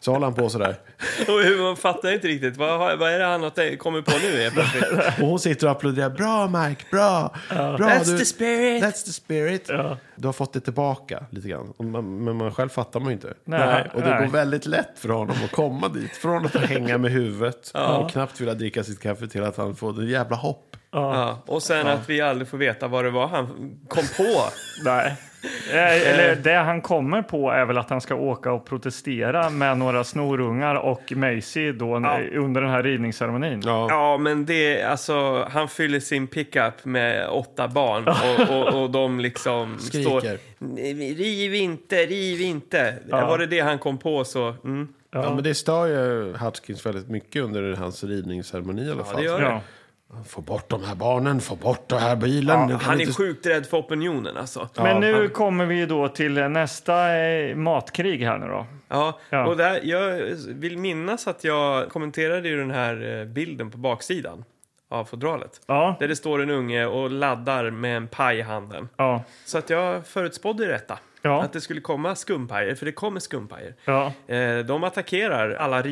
S3: Så håller han på sådär.
S2: Och man fattar inte riktigt. Vad, har- vad är det han har tänkt- kommit på nu helt plötsligt?
S3: Och hon sitter och applåderar. Bra Mike, bra! bra
S2: That's the spirit.
S3: That's the spirit. Du har fått det tillbaka lite grann. Och man, men man själv fattar man ju inte.
S1: Nej,
S3: och det
S1: nej.
S3: går väldigt lätt för honom att komma dit. Från att hänga med huvudet och knappt vilja dricka sitt kaffe till att han får det jävla hopp.
S2: Ja. Och sen att vi aldrig får veta vad det var han kom på.
S1: Nej. Eh, Eller det han kommer på är väl att han ska åka och protestera med några snorungar och Macy då under den här ridningsceremonin.
S2: Ja, men det, alltså, han fyller sin pickup med åtta barn och, och, och de liksom
S3: Skriker.
S2: står... "Nej, Riv inte, riv inte. Var det det han kom på så... Mm.
S3: Ja. men det stör ju Hutchkins väldigt mycket under hans ridningsceremoni i alla fall.
S2: det gör det.
S1: Ja.
S3: Få bort de här barnen, få bort den här bilen. nu kan
S2: Han
S3: vi
S2: är
S3: inte-
S2: sjukt rädd för opinionen alltså. Ja.
S1: Men nu kommer vi ju då till eh, nästa eh, matkrig här nu då. Ja.
S2: Och där, jag vill minnas att jag kommenterade ju den här eh, bilden på baksidan av fodralet.
S1: Ja,
S2: Där det står en unge och laddar med en paj i handen.
S1: ja,
S2: Så att jag förutspådde detta.
S1: Ja.
S2: Att det skulle komma skumpajer, för det kommer skumpajer.
S1: ja.
S2: Eh, De attackerar alla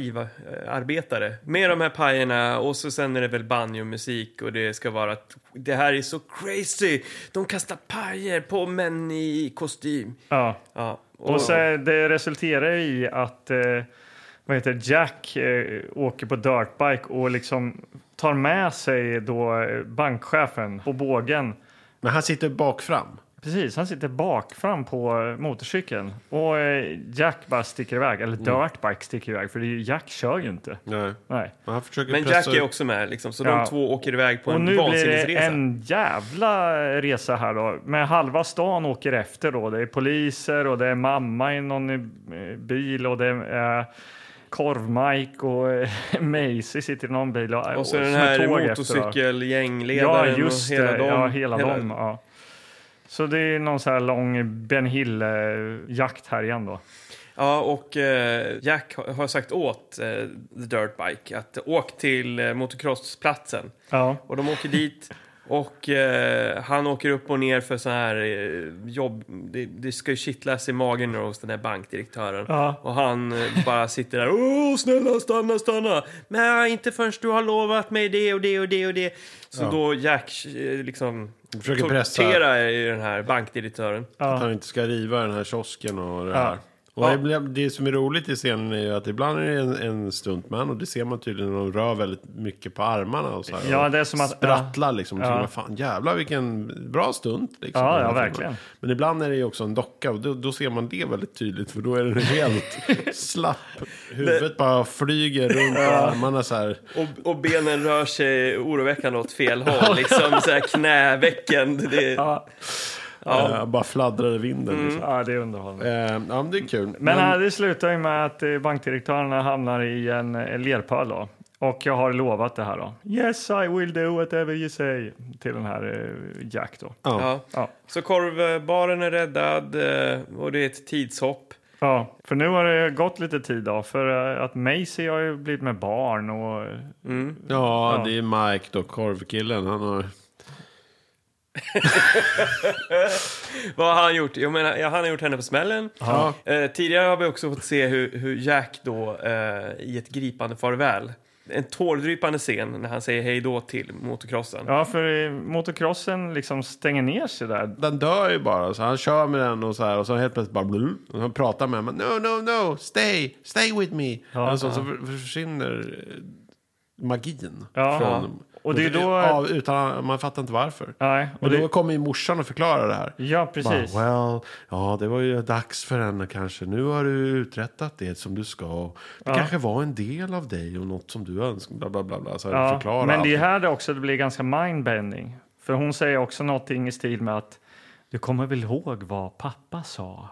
S2: RIV-arbetare med de här pajerna och så sen är det väl banjomusik och det ska vara att det här är så crazy! De kastar pajer på män i kostym.
S1: ja.
S2: Ja,
S1: Och så
S3: Oh.
S1: eh, det resulterar i att eh, vad heter det, Jack eh, åker på dirtbike och liksom tar med sig då eh, bankchefen på bågen.
S3: Men han sitter bak fram.
S1: Precis, han sitter bak fram på eh, motorcykeln och eh, Jack bara sticker iväg,
S2: Mm.
S1: eller dirtbike sticker iväg för det är ju, Jack kör ju inte.
S3: Nej.
S1: Nej.
S3: Men han försöker
S2: men
S3: pressa
S2: Jack är
S3: ut-
S2: också med liksom, så
S1: Ja.
S2: de två åker iväg på
S1: Och
S2: en
S1: nu blir det
S2: vansinnesresa.
S1: en jävla resa här då. Med halva stan åker efter då. Det är poliser och det är mamma i någon eh, bil och det är eh, Korv-Mike och eh, Macy sitter i någon bil. Och,
S2: Och så den
S1: som ett
S2: här
S1: tåg efter, va? Ja,
S2: motorcykelgängledaren
S1: just
S2: och
S1: det.
S2: hela
S1: Hela
S2: dem.
S1: ja, hela, dem. Ja. Så det är någon så här lång Ben Hill-jakt här igen då.
S2: Ja, och eh, Jack har- har sagt åt eh, The Dirtbike att åk till eh, motocrossplatsen.
S1: Ja,
S2: Och de åker dit och eh, han åker upp och ner för så här eh, jobb. Det, det ska ju kittlas i magen nu hos den här bankdirektören.
S1: Ja.
S2: Och han eh, bara sitter där. Åh, snälla stanna, stanna! Men inte förrän du har lovat mig det och det och det och det. Så då Jack eh, liksom
S3: Försöker pressa.
S2: torterar ju den här bankdirektören.
S3: Att han inte ska riva den här kiosken och det
S1: Ja.
S3: här. Och det, blir- det som är roligt i scenen är ju att ibland är det en, en stuntman och det ser man tydligen när de rör väldigt mycket på armarna och så här.
S1: Ja,
S3: och
S1: det är som att-
S3: Sprattlar liksom.
S1: ja.
S3: Ja. Man, fan jävlar vilken bra stunt. Liksom,
S1: Ja,
S3: i
S1: ja,
S3: den här filmen.
S1: verkligen.
S3: Men ibland är det ju också en docka och då, då ser man det väldigt tydligt för då är den helt slapp. Huvudet bara flyger runt på armarna så här.
S2: Och, och benen rör sig oroväckande åt fel håll. Liksom så här knävecken. Det,
S1: Ja,
S3: Eh, bara fladdrar i vinden. Liksom.
S1: ja det är underhållande.
S3: Eh, ja, men det är kul.
S1: Mm. Men eh, det slutar ju med att eh, bankdirektörerna hamnar i en eh, lerpöl då. Och jag har lovat det här då. Yes I will do whatever you say. Till den här eh, Jack då.
S2: ja.
S1: Ja.
S2: Så korvbaren är räddad eh, och det är ett tidshopp.
S1: Ja, för nu har det gått lite tid då. För eh, att Macy har ju blivit med barn och... eh,
S3: Ja, det är Mike då, korvkillen. Han har...
S2: Vad har han gjort? Jag menar, ja, han har gjort henne på smällen. Eh, tidigare har vi också fått se hur, hur Jack då eh, i ett gripande farväl. En tårdrypande scen när han säger hej då till motocrossen.
S1: Ja, för eh, motocrossen liksom stänger ner sig där.
S3: Den dör ju bara, så han kör med den och så här och så helt plötsligt bara blup, och han pratar med honom. No, no, no, stay, stay with me.
S1: Ja,
S3: alltså,
S1: ja.
S3: Så för- försvinner eh, magin.
S1: Ja.
S3: från
S1: Ja.
S3: dem.
S1: Och det är då-
S3: Ja, utan, man fattar inte varför.
S1: Nej, och
S3: Men då
S1: det,
S3: kommer ju morsan och förklarar det här.
S1: ja, precis.
S3: Bara, well, ja, det var ju dags för henne kanske. Nu har du uträttat det som du ska. Det kanske var en del av dig och något som du önskar. Bla, bla, bla, bla. Så här,
S1: Ja,
S3: förklara
S1: men det
S3: allting.
S1: är här det också det blir ganska mindbending. För hon säger också någonting i stil med att du kommer väl ihåg vad pappa sa?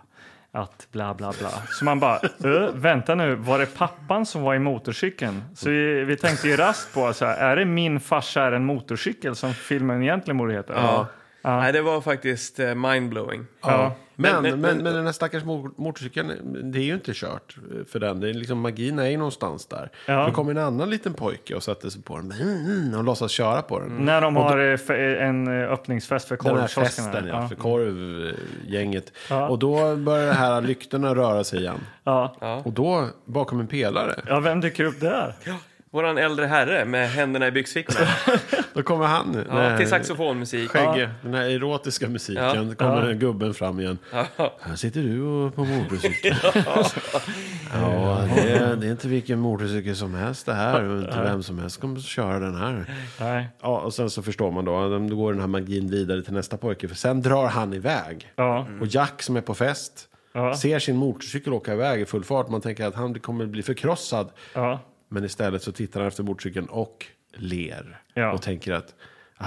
S1: Att bla bla bla. Så man bara, "Ö, vänta nu, var det pappan som var i motorcykeln? Så vi, vi tänkte ju rast på, så här, är det min farsa är en motorcykel som filmen egentligen borde heta? Ja.
S2: Nej, det var faktiskt eh, mindblowing.
S1: Ja.
S2: Men-
S3: Men, men,
S2: men-
S3: men, den här stackars mot- motorcykeln, det är ju inte kört för den. Det är liksom, magin är ju någonstans där.
S1: Ja.
S3: Då kom en annan liten pojke och satte sig på den mm, mm, och låtsas köra på den.
S1: När de har eh, fe- en eh, öppningsfest för
S3: Den här
S1: korvkiosken.
S3: festen, ja,
S1: ja.
S3: för korvgänget.
S1: Ja.
S3: Och då börjar det här lyktorna röra sig igen.
S1: Ja.
S3: Och då, bakom en pelare,
S1: ja, vem dyker upp där?
S2: Våran äldre herre med händerna i byxfickorna.
S3: då kommer han. den
S2: Ja,
S3: här
S2: till saxofonmusik.
S3: Skägge, den här erotiska musiken,
S2: Ja.
S3: då kommer den här gubben fram igen. Här sitter du och på motorcykel. ja, det är, det är inte vilken motorcykel som helst det här. Och inte vem som helst kommer att köra den här.
S1: Nej.
S3: Ja, och sen så förstår man då. Då går den här magin vidare till nästa pojke. För sen drar han iväg.
S1: Ja.
S2: Mm.
S3: Och Jack som är på fest.
S1: Ja.
S3: Ser sin motorcykel åka iväg i full fart. Man tänker att han kommer bli förkrossad.
S1: Ja.
S3: Men istället så tittar han efter motorcykeln och ler.
S1: Ja.
S3: Och tänker att, ah,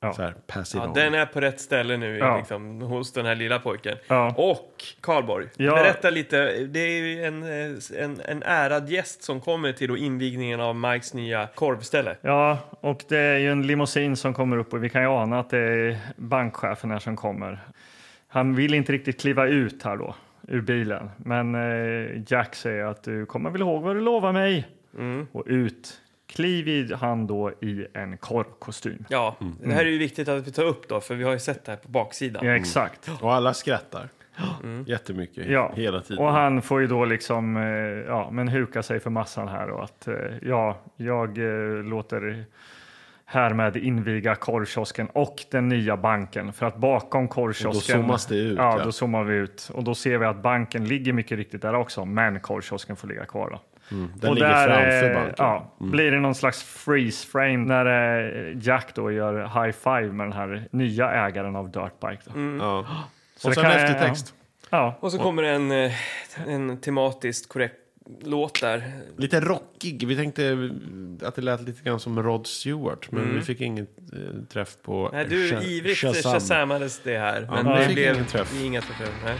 S1: Ja.
S3: så här, pass it
S2: Ja,
S3: on.
S2: den är på rätt ställe nu
S1: Ja.
S2: liksom, hos den här lilla pojken.
S1: Ja.
S2: Och Karlborg,
S1: Ja.
S2: berätta lite. Det är ju en, eh, en, en ärad gäst som kommer till då invigningen av Mikes nya korvställe.
S1: Ja, och det är ju en limousin som kommer upp och vi kan ju ana att det är bankchefen här som kommer. Han vill inte riktigt kliva ut här då, ur bilen. Men eh, Jack säger att du kommer väl ihåg vad du lovade mig? Och ut kliver han då i en korvkostym.
S2: Ja, det här är ju viktigt att vi tar upp då, för vi har ju sett det här på baksidan.
S1: Mm. Ja, exakt.
S3: Och alla skrattar. Jättemycket.
S1: Mm. Ja.
S3: Hela tiden.
S1: Och han får ju då liksom, eh, ja, men huka sig för massan här och att eh, ja, jag eh, låter härmed inviga korvkiosken och den nya banken. För att bakom korvkiosken...
S3: Och då zoomas det ut,
S1: Ja,
S3: ja.
S1: då zoomar vi ut. Och då ser vi att banken ligger mycket riktigt där också, men korvkiosken får ligga kvar då.
S3: Den ligger framför
S1: eh,
S3: banken. Mm.
S1: Ja, Blir det någon slags freeze frame när eh, Jack då gör high five med den här nya ägaren av Dirtbike. Då.
S3: Ja.
S1: Så det
S3: och sen
S1: kan-
S3: eftertext.
S1: Ja,
S2: Och så kommer en, eh, en tematiskt korrekt låt där.
S3: Lite rockig. Vi tänkte att det lät lite grann som Rod Stewart.
S1: Mm.
S3: Men vi fick ingen eh, träff på
S2: Nej, du
S3: Sha-
S2: ivrigt shazamades det här, men
S3: men
S2: det
S3: fick
S2: blev
S3: ingen träff.
S2: inga träffar. Nej.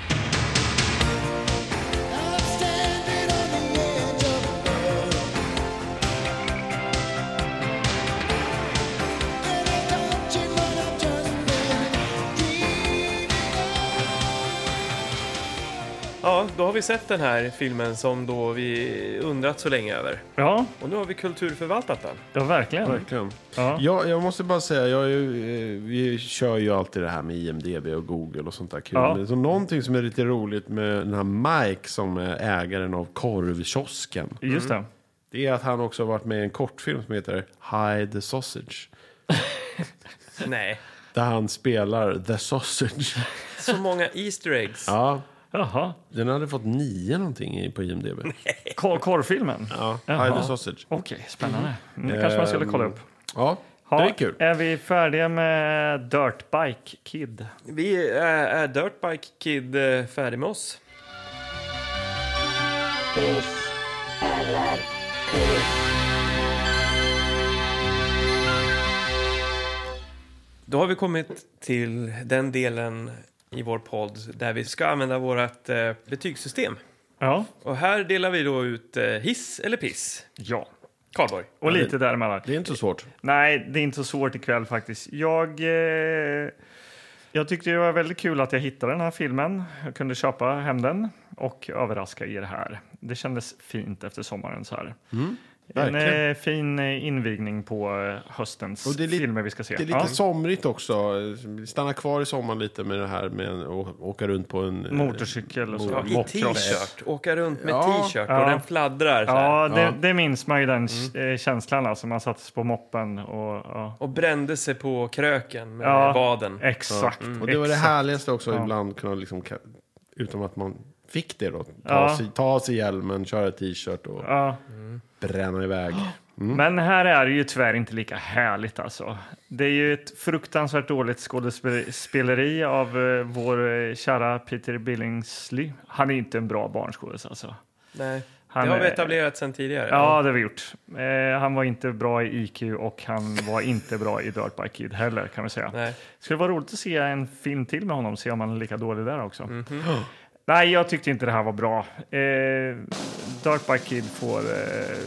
S2: Ja, då har vi sett den här filmen som då vi undrat så länge över.
S1: ja,
S2: Och nu har vi kulturförvaltat den.
S1: ja verkligen.
S3: Verkligen.
S1: Ja.
S3: Ja, jag måste bara säga, jag är ju, eh, vi kör ju alltid det här med IMDB och Google och sånt där kul.
S1: Ja.
S3: Så någonting som är lite roligt med den här Mike som är ägaren av korvkiosken.
S1: Just
S3: Mm.
S1: det.
S3: Det är att han också har varit med i en kortfilm som heter Hide the Sausage.
S2: Nej,
S3: Där han spelar The Sausage.
S2: så många Easter eggs.
S3: Ja.
S1: Jaha.
S3: Den hade fått nio någonting i- på IMDB.
S1: Kor- Korvfilmen?
S3: Ja,
S1: Jaha.
S3: Hide the Sausage.
S1: Okej, spännande. Mm. Det kanske man skulle kolla upp.
S3: Ja, Eh, det är kul.
S1: Är vi färdiga med Dirtbike Kid?
S2: Vi är, är Dirtbike Kid eh, färdig med oss. Då har vi kommit till den delen i vår podd där vi ska använda vårt eh, betygssystem.
S1: Ja.
S2: Och här delar vi då ut eh, hiss eller piss.
S1: Ja.
S2: Karlborg.
S1: Och lite däremellan.
S3: Det är inte så svårt.
S1: Nej, det är inte så svårt ikväll faktiskt. Jag, eh, jag tyckte det var väldigt kul att jag hittade den här filmen. Jag kunde köpa hem den och överraska er här. Det kändes fint efter sommaren så här. en
S3: Mm, verkligen.
S1: eh, fin eh, invigning på eh, höstens
S3: Och det är lite-
S1: filmer vi ska se.
S3: Det är lite
S1: Ja.
S3: somrigt också. Stanna kvar i sommar lite med det här med att å- åka runt på en... eh,
S1: Motorcykel och så.
S2: Ja, I t-shirt. Åka runt med
S3: Ja.
S2: t-shirt
S1: Ja.
S2: och den fladdrar så här.
S1: Ja, det, det minns man ju
S3: Mm.
S1: den eh, känslan alltså. Man sattes på moppen och... Ja,
S2: Och brände sig på kröken med
S1: Ja.
S2: vaden.
S1: exakt.
S3: Och det var det
S1: exakt.
S3: härligaste också ibland kunna liksom... ka- Utan att man fick det då. Ta,
S1: Ja.
S3: sig, ta sig hjälmen, köra t-shirt och
S1: Ja.
S3: bränna iväg.
S2: Mm.
S1: Men här är det ju tyvärr inte lika härligt alltså. Det är ju ett fruktansvärt dåligt skådespeleri av eh, vår eh, kära Peter Billingsley. Han är inte en bra barnskådis alltså.
S2: Nej.
S1: Han
S2: det har vi
S1: är-
S2: etablerat sen tidigare.
S1: Ja, det har vi gjort. Eh, han var inte bra i IQ och han var inte bra i Dirt Bike Kid heller kan vi säga.
S2: Nej.
S1: Skulle vara roligt att se en film till med honom, se om han är lika dålig där också.
S2: Mhm.
S1: Nej, jag tyckte inte det här var bra. Eh, Dirt Bike Kid får eh,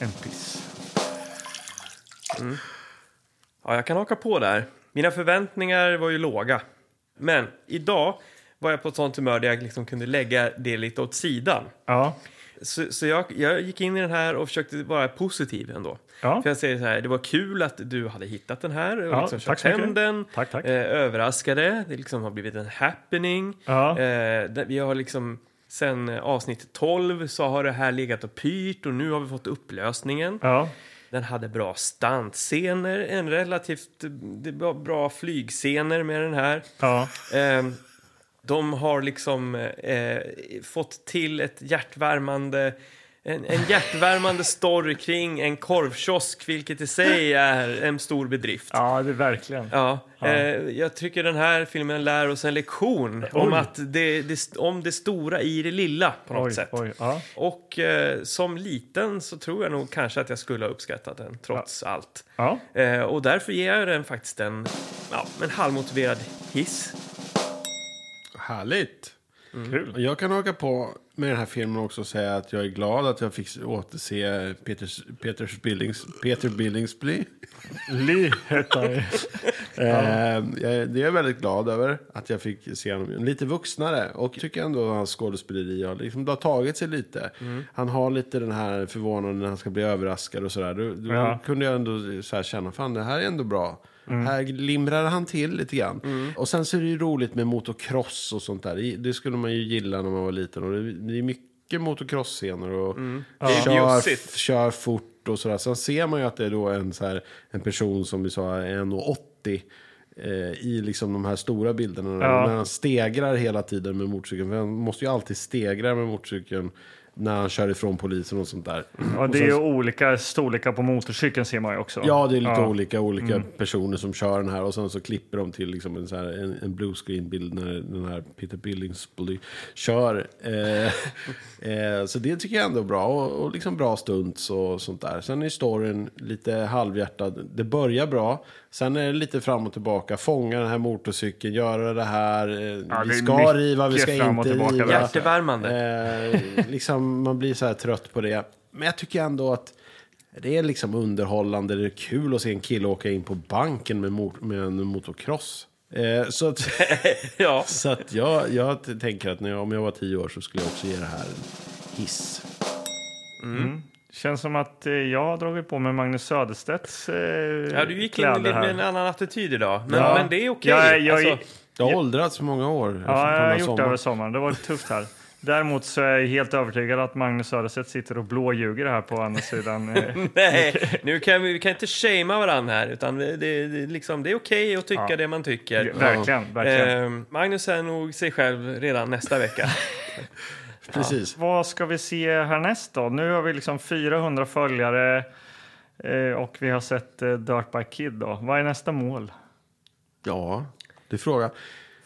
S1: en piss.
S2: Ja, jag kan haka på där. Mina förväntningar var ju låga. Men idag var jag på ett sånt humör där jag liksom kunde lägga det lite åt sidan.
S1: Ja.
S2: Så, så jag, jag gick in i den här och försökte vara positiv ändå.
S1: Ja.
S2: För jag säger så här, det var kul att du hade hittat den här och
S1: Ja,
S2: liksom
S1: tack
S2: köpt
S1: så
S2: hem
S1: mycket.
S2: den.
S1: Tack, tack.
S2: Eh, överraskade, det liksom har blivit en happening.
S1: Ja.
S2: Eh, där vi har liksom, sen eh, avsnitt 12 så har det här legat och pyrt och nu har vi fått upplösningen.
S1: Ja.
S2: Den hade bra stuntscener, en relativt det var bra flygscener med den här.
S1: Ja.
S2: Ehm, de har liksom eh, fått till ett hjärtvärmande en, en hjärtvärmande story kring en korvkiosk, vilket i sig är en stor bedrift.
S1: Ja, det är verkligen.
S2: Ja, Eh, jag tycker den här filmen lär oss en lektion om, att det, det, om det stora i det lilla på något
S1: Oj,
S2: sätt.
S1: oj, ja.
S2: Och eh, som liten så tror jag nog kanske att jag skulle ha uppskattat den trots allt.
S1: Ja.
S2: Eh, och därför ger jag den faktiskt en, ja, en halvmotiverad hiss.
S3: Härligt!
S1: Kul.
S3: Jag kan haka på med den här filmen också och säga att jag är glad att jag fick återse Peters, Peters Billings, Peter Billingsby.
S1: Li heter det.
S3: Eh, jag- det är jag väldigt glad över att jag fick se honom lite vuxnare. Och tycker ändå att hans skådespeleri har, liksom, det har tagit sig lite.
S2: Mm.
S3: Han har lite den här förvånaden när han ska bli överraskad och sådär. Då, då
S1: Ja.
S3: kunde jag ändå så här känna, fan det här är ändå bra.
S2: Mm.
S3: Här limrar han till lite grann. Och sen så är det ju roligt med motocross och sånt där. Det skulle man ju gilla när man var liten. Och det, det är mycket motocross-scener och
S2: Mm. är
S3: kör,
S2: bjussigt.
S3: kör fort och sådär. Sen ser man ju att det är då en, så här, en person som vi sa är 1,80 eh, i liksom de här stora bilderna.
S1: Ja.
S3: När han stegrar hela tiden med motorcykeln. För han måste ju alltid stegra med motorcykeln när han kör ifrån polisen och sånt där.
S1: Och det är ju olika storlekar på motorcykeln ser man ju också.
S3: Ja, det är lite olika, olika personer som kör den här och sen så klipper de till liksom en, så här, en, en bluescreen-bild när den här Peter Billingsby kör. Eh, eh, så det tycker jag ändå är bra och, och liksom bra stunts och sånt där. Sen är storyn lite halvhjärtad. Det börjar bra, sen är det lite fram och tillbaka. Fånga den här motorcykeln, göra det här. Eh,
S1: Ja,
S3: vi
S1: det är
S3: ska
S1: mycket
S3: riva, vi ska
S1: fram och
S3: inte
S1: tillbaka
S3: riva.
S1: där.
S2: Hjärtevärmande.
S3: Eh, liksom, man blir så här trött på det. Men jag tycker ändå att det är liksom underhållande. Det är kul att se en kille åka in på banken med, mot- med en motocross. Eh, så att,
S2: ja.
S3: så att jag, jag t- tänker att när jag, om jag var tio år så skulle jag också ge det här en hiss.
S1: Känns som att eh, jag har dragit på mig Magnus Söderstedts eh,
S2: ja, du gick in
S1: kläder
S2: lite med
S1: här.
S2: en annan attityd idag. Men,
S1: Ja.
S2: men det är okej.
S1: Jag- jag-
S2: alltså,
S3: Jag har åldrats många år.
S1: Ja, jag har
S3: den här
S1: gjort det
S3: sommaren.
S1: över sommaren. Det var lite tufft här. Däremot så är jag helt övertygad att Magnus Söderstedt sitter och blåljuger här på andra sidan. eh,
S2: Nej, nu kan vi, vi kan inte shamea varandra här, utan det, det, det, liksom, det är okej att tycka
S1: Ja.
S2: det man tycker.
S1: verkligen, verkligen.
S2: Ehm, Magnus är nog sig själv redan nästa vecka.
S3: Precis.
S1: Vad ska vi se härnäst då? Nu har vi liksom 400 följare eh, och vi har sett eh, Dirt by Kid då. Vad är nästa mål?
S3: Ja, det är frågan.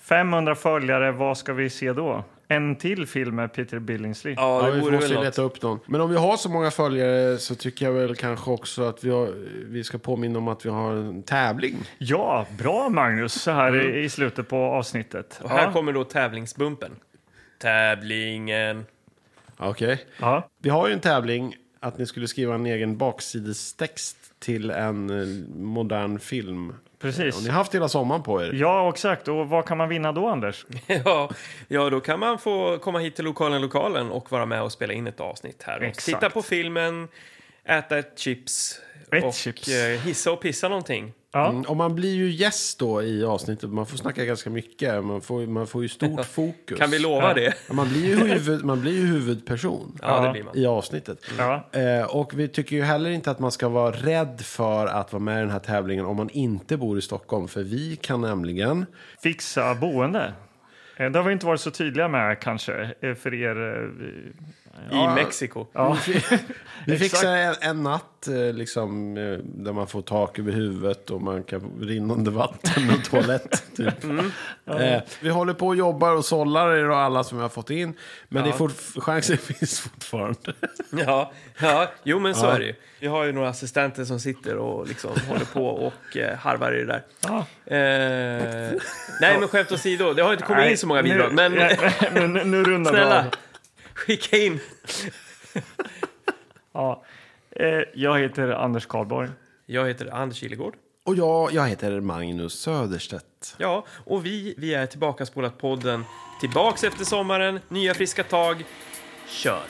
S1: 500 följare, vad ska vi se då? En till film med Peter Billingsley.
S2: Ja,
S3: Ja,
S2: det
S3: vi
S2: vore
S3: måste
S2: väl
S3: ju
S2: något.
S3: leta upp någon. Men om vi har så många följare så tycker jag väl kanske också att vi, har, vi ska påminna om att vi har en tävling.
S1: Ja, bra Magnus, så här i- i slutet på avsnittet.
S2: Mm. Och här
S1: Ja.
S2: kommer då tävlingsbumpen. Tävlingen.
S3: Okej.
S1: Ja.
S3: Vi har ju en tävling att ni skulle skriva en egen baksidestext till en eh, modern film.
S1: Precis.
S3: Och ni har haft hela sommaren på er.
S1: Ja, exakt. Och vad kan man vinna då, Anders?
S2: Ja, ja, då kan man få komma hit till lokalen, lokalen och vara med och spela in ett avsnitt här. Och
S1: Exakt.
S2: titta på filmen, äta ett chips
S1: Ett
S2: och
S1: chips.
S2: eh, hissa och pissa någonting.
S1: Ja.
S3: Mm, och man blir ju gäst då i avsnittet. Man får snacka ganska mycket. Man får, man får ju stort fokus.
S2: Kan vi lova det?
S3: Ja, Man blir ju, huvud, man blir ju huvudperson.
S2: Ja, det blir man.
S3: i avsnittet.
S1: Ja.
S3: Eh, och vi tycker ju heller inte att man ska vara rädd för att vara med i den här tävlingen om man inte bor i Stockholm. För vi kan nämligen...
S1: Fixa boende. Eh, Det har vi inte varit så tydliga med kanske eh, för er. eh,
S2: I Mexiko.
S3: Vi fixar en, en natt eh, liksom, eh, där man får tak över huvudet och man kan få rinnande vatten och toalett. Typ. Eh, vi håller på och jobbar och sållar er och alla som vi har fått in. Men det är fortf- chansen finns fortfarande.
S2: Ja, ja, jo men så är det ju. Vi har ju några assistenter som sitter och liksom håller på och eh, harvar i det där.
S1: Ja.
S2: Eh, nej men skämt åsido, det har inte kommit in så många
S1: Nej,
S2: bidrag.
S1: nu-
S2: Men
S1: nu, nu, nu rundar vi av.
S2: snälla, skicka in.
S1: Ja. Eh, Jag heter Anders Karlborg.
S2: Jag heter Anders Kilegård.
S3: Och jag, jag heter Magnus Söderstedt.
S2: Ja, och vi, vi är tillbaka spolat podden. Tillbaks efter sommaren, nya friska tag. Kör!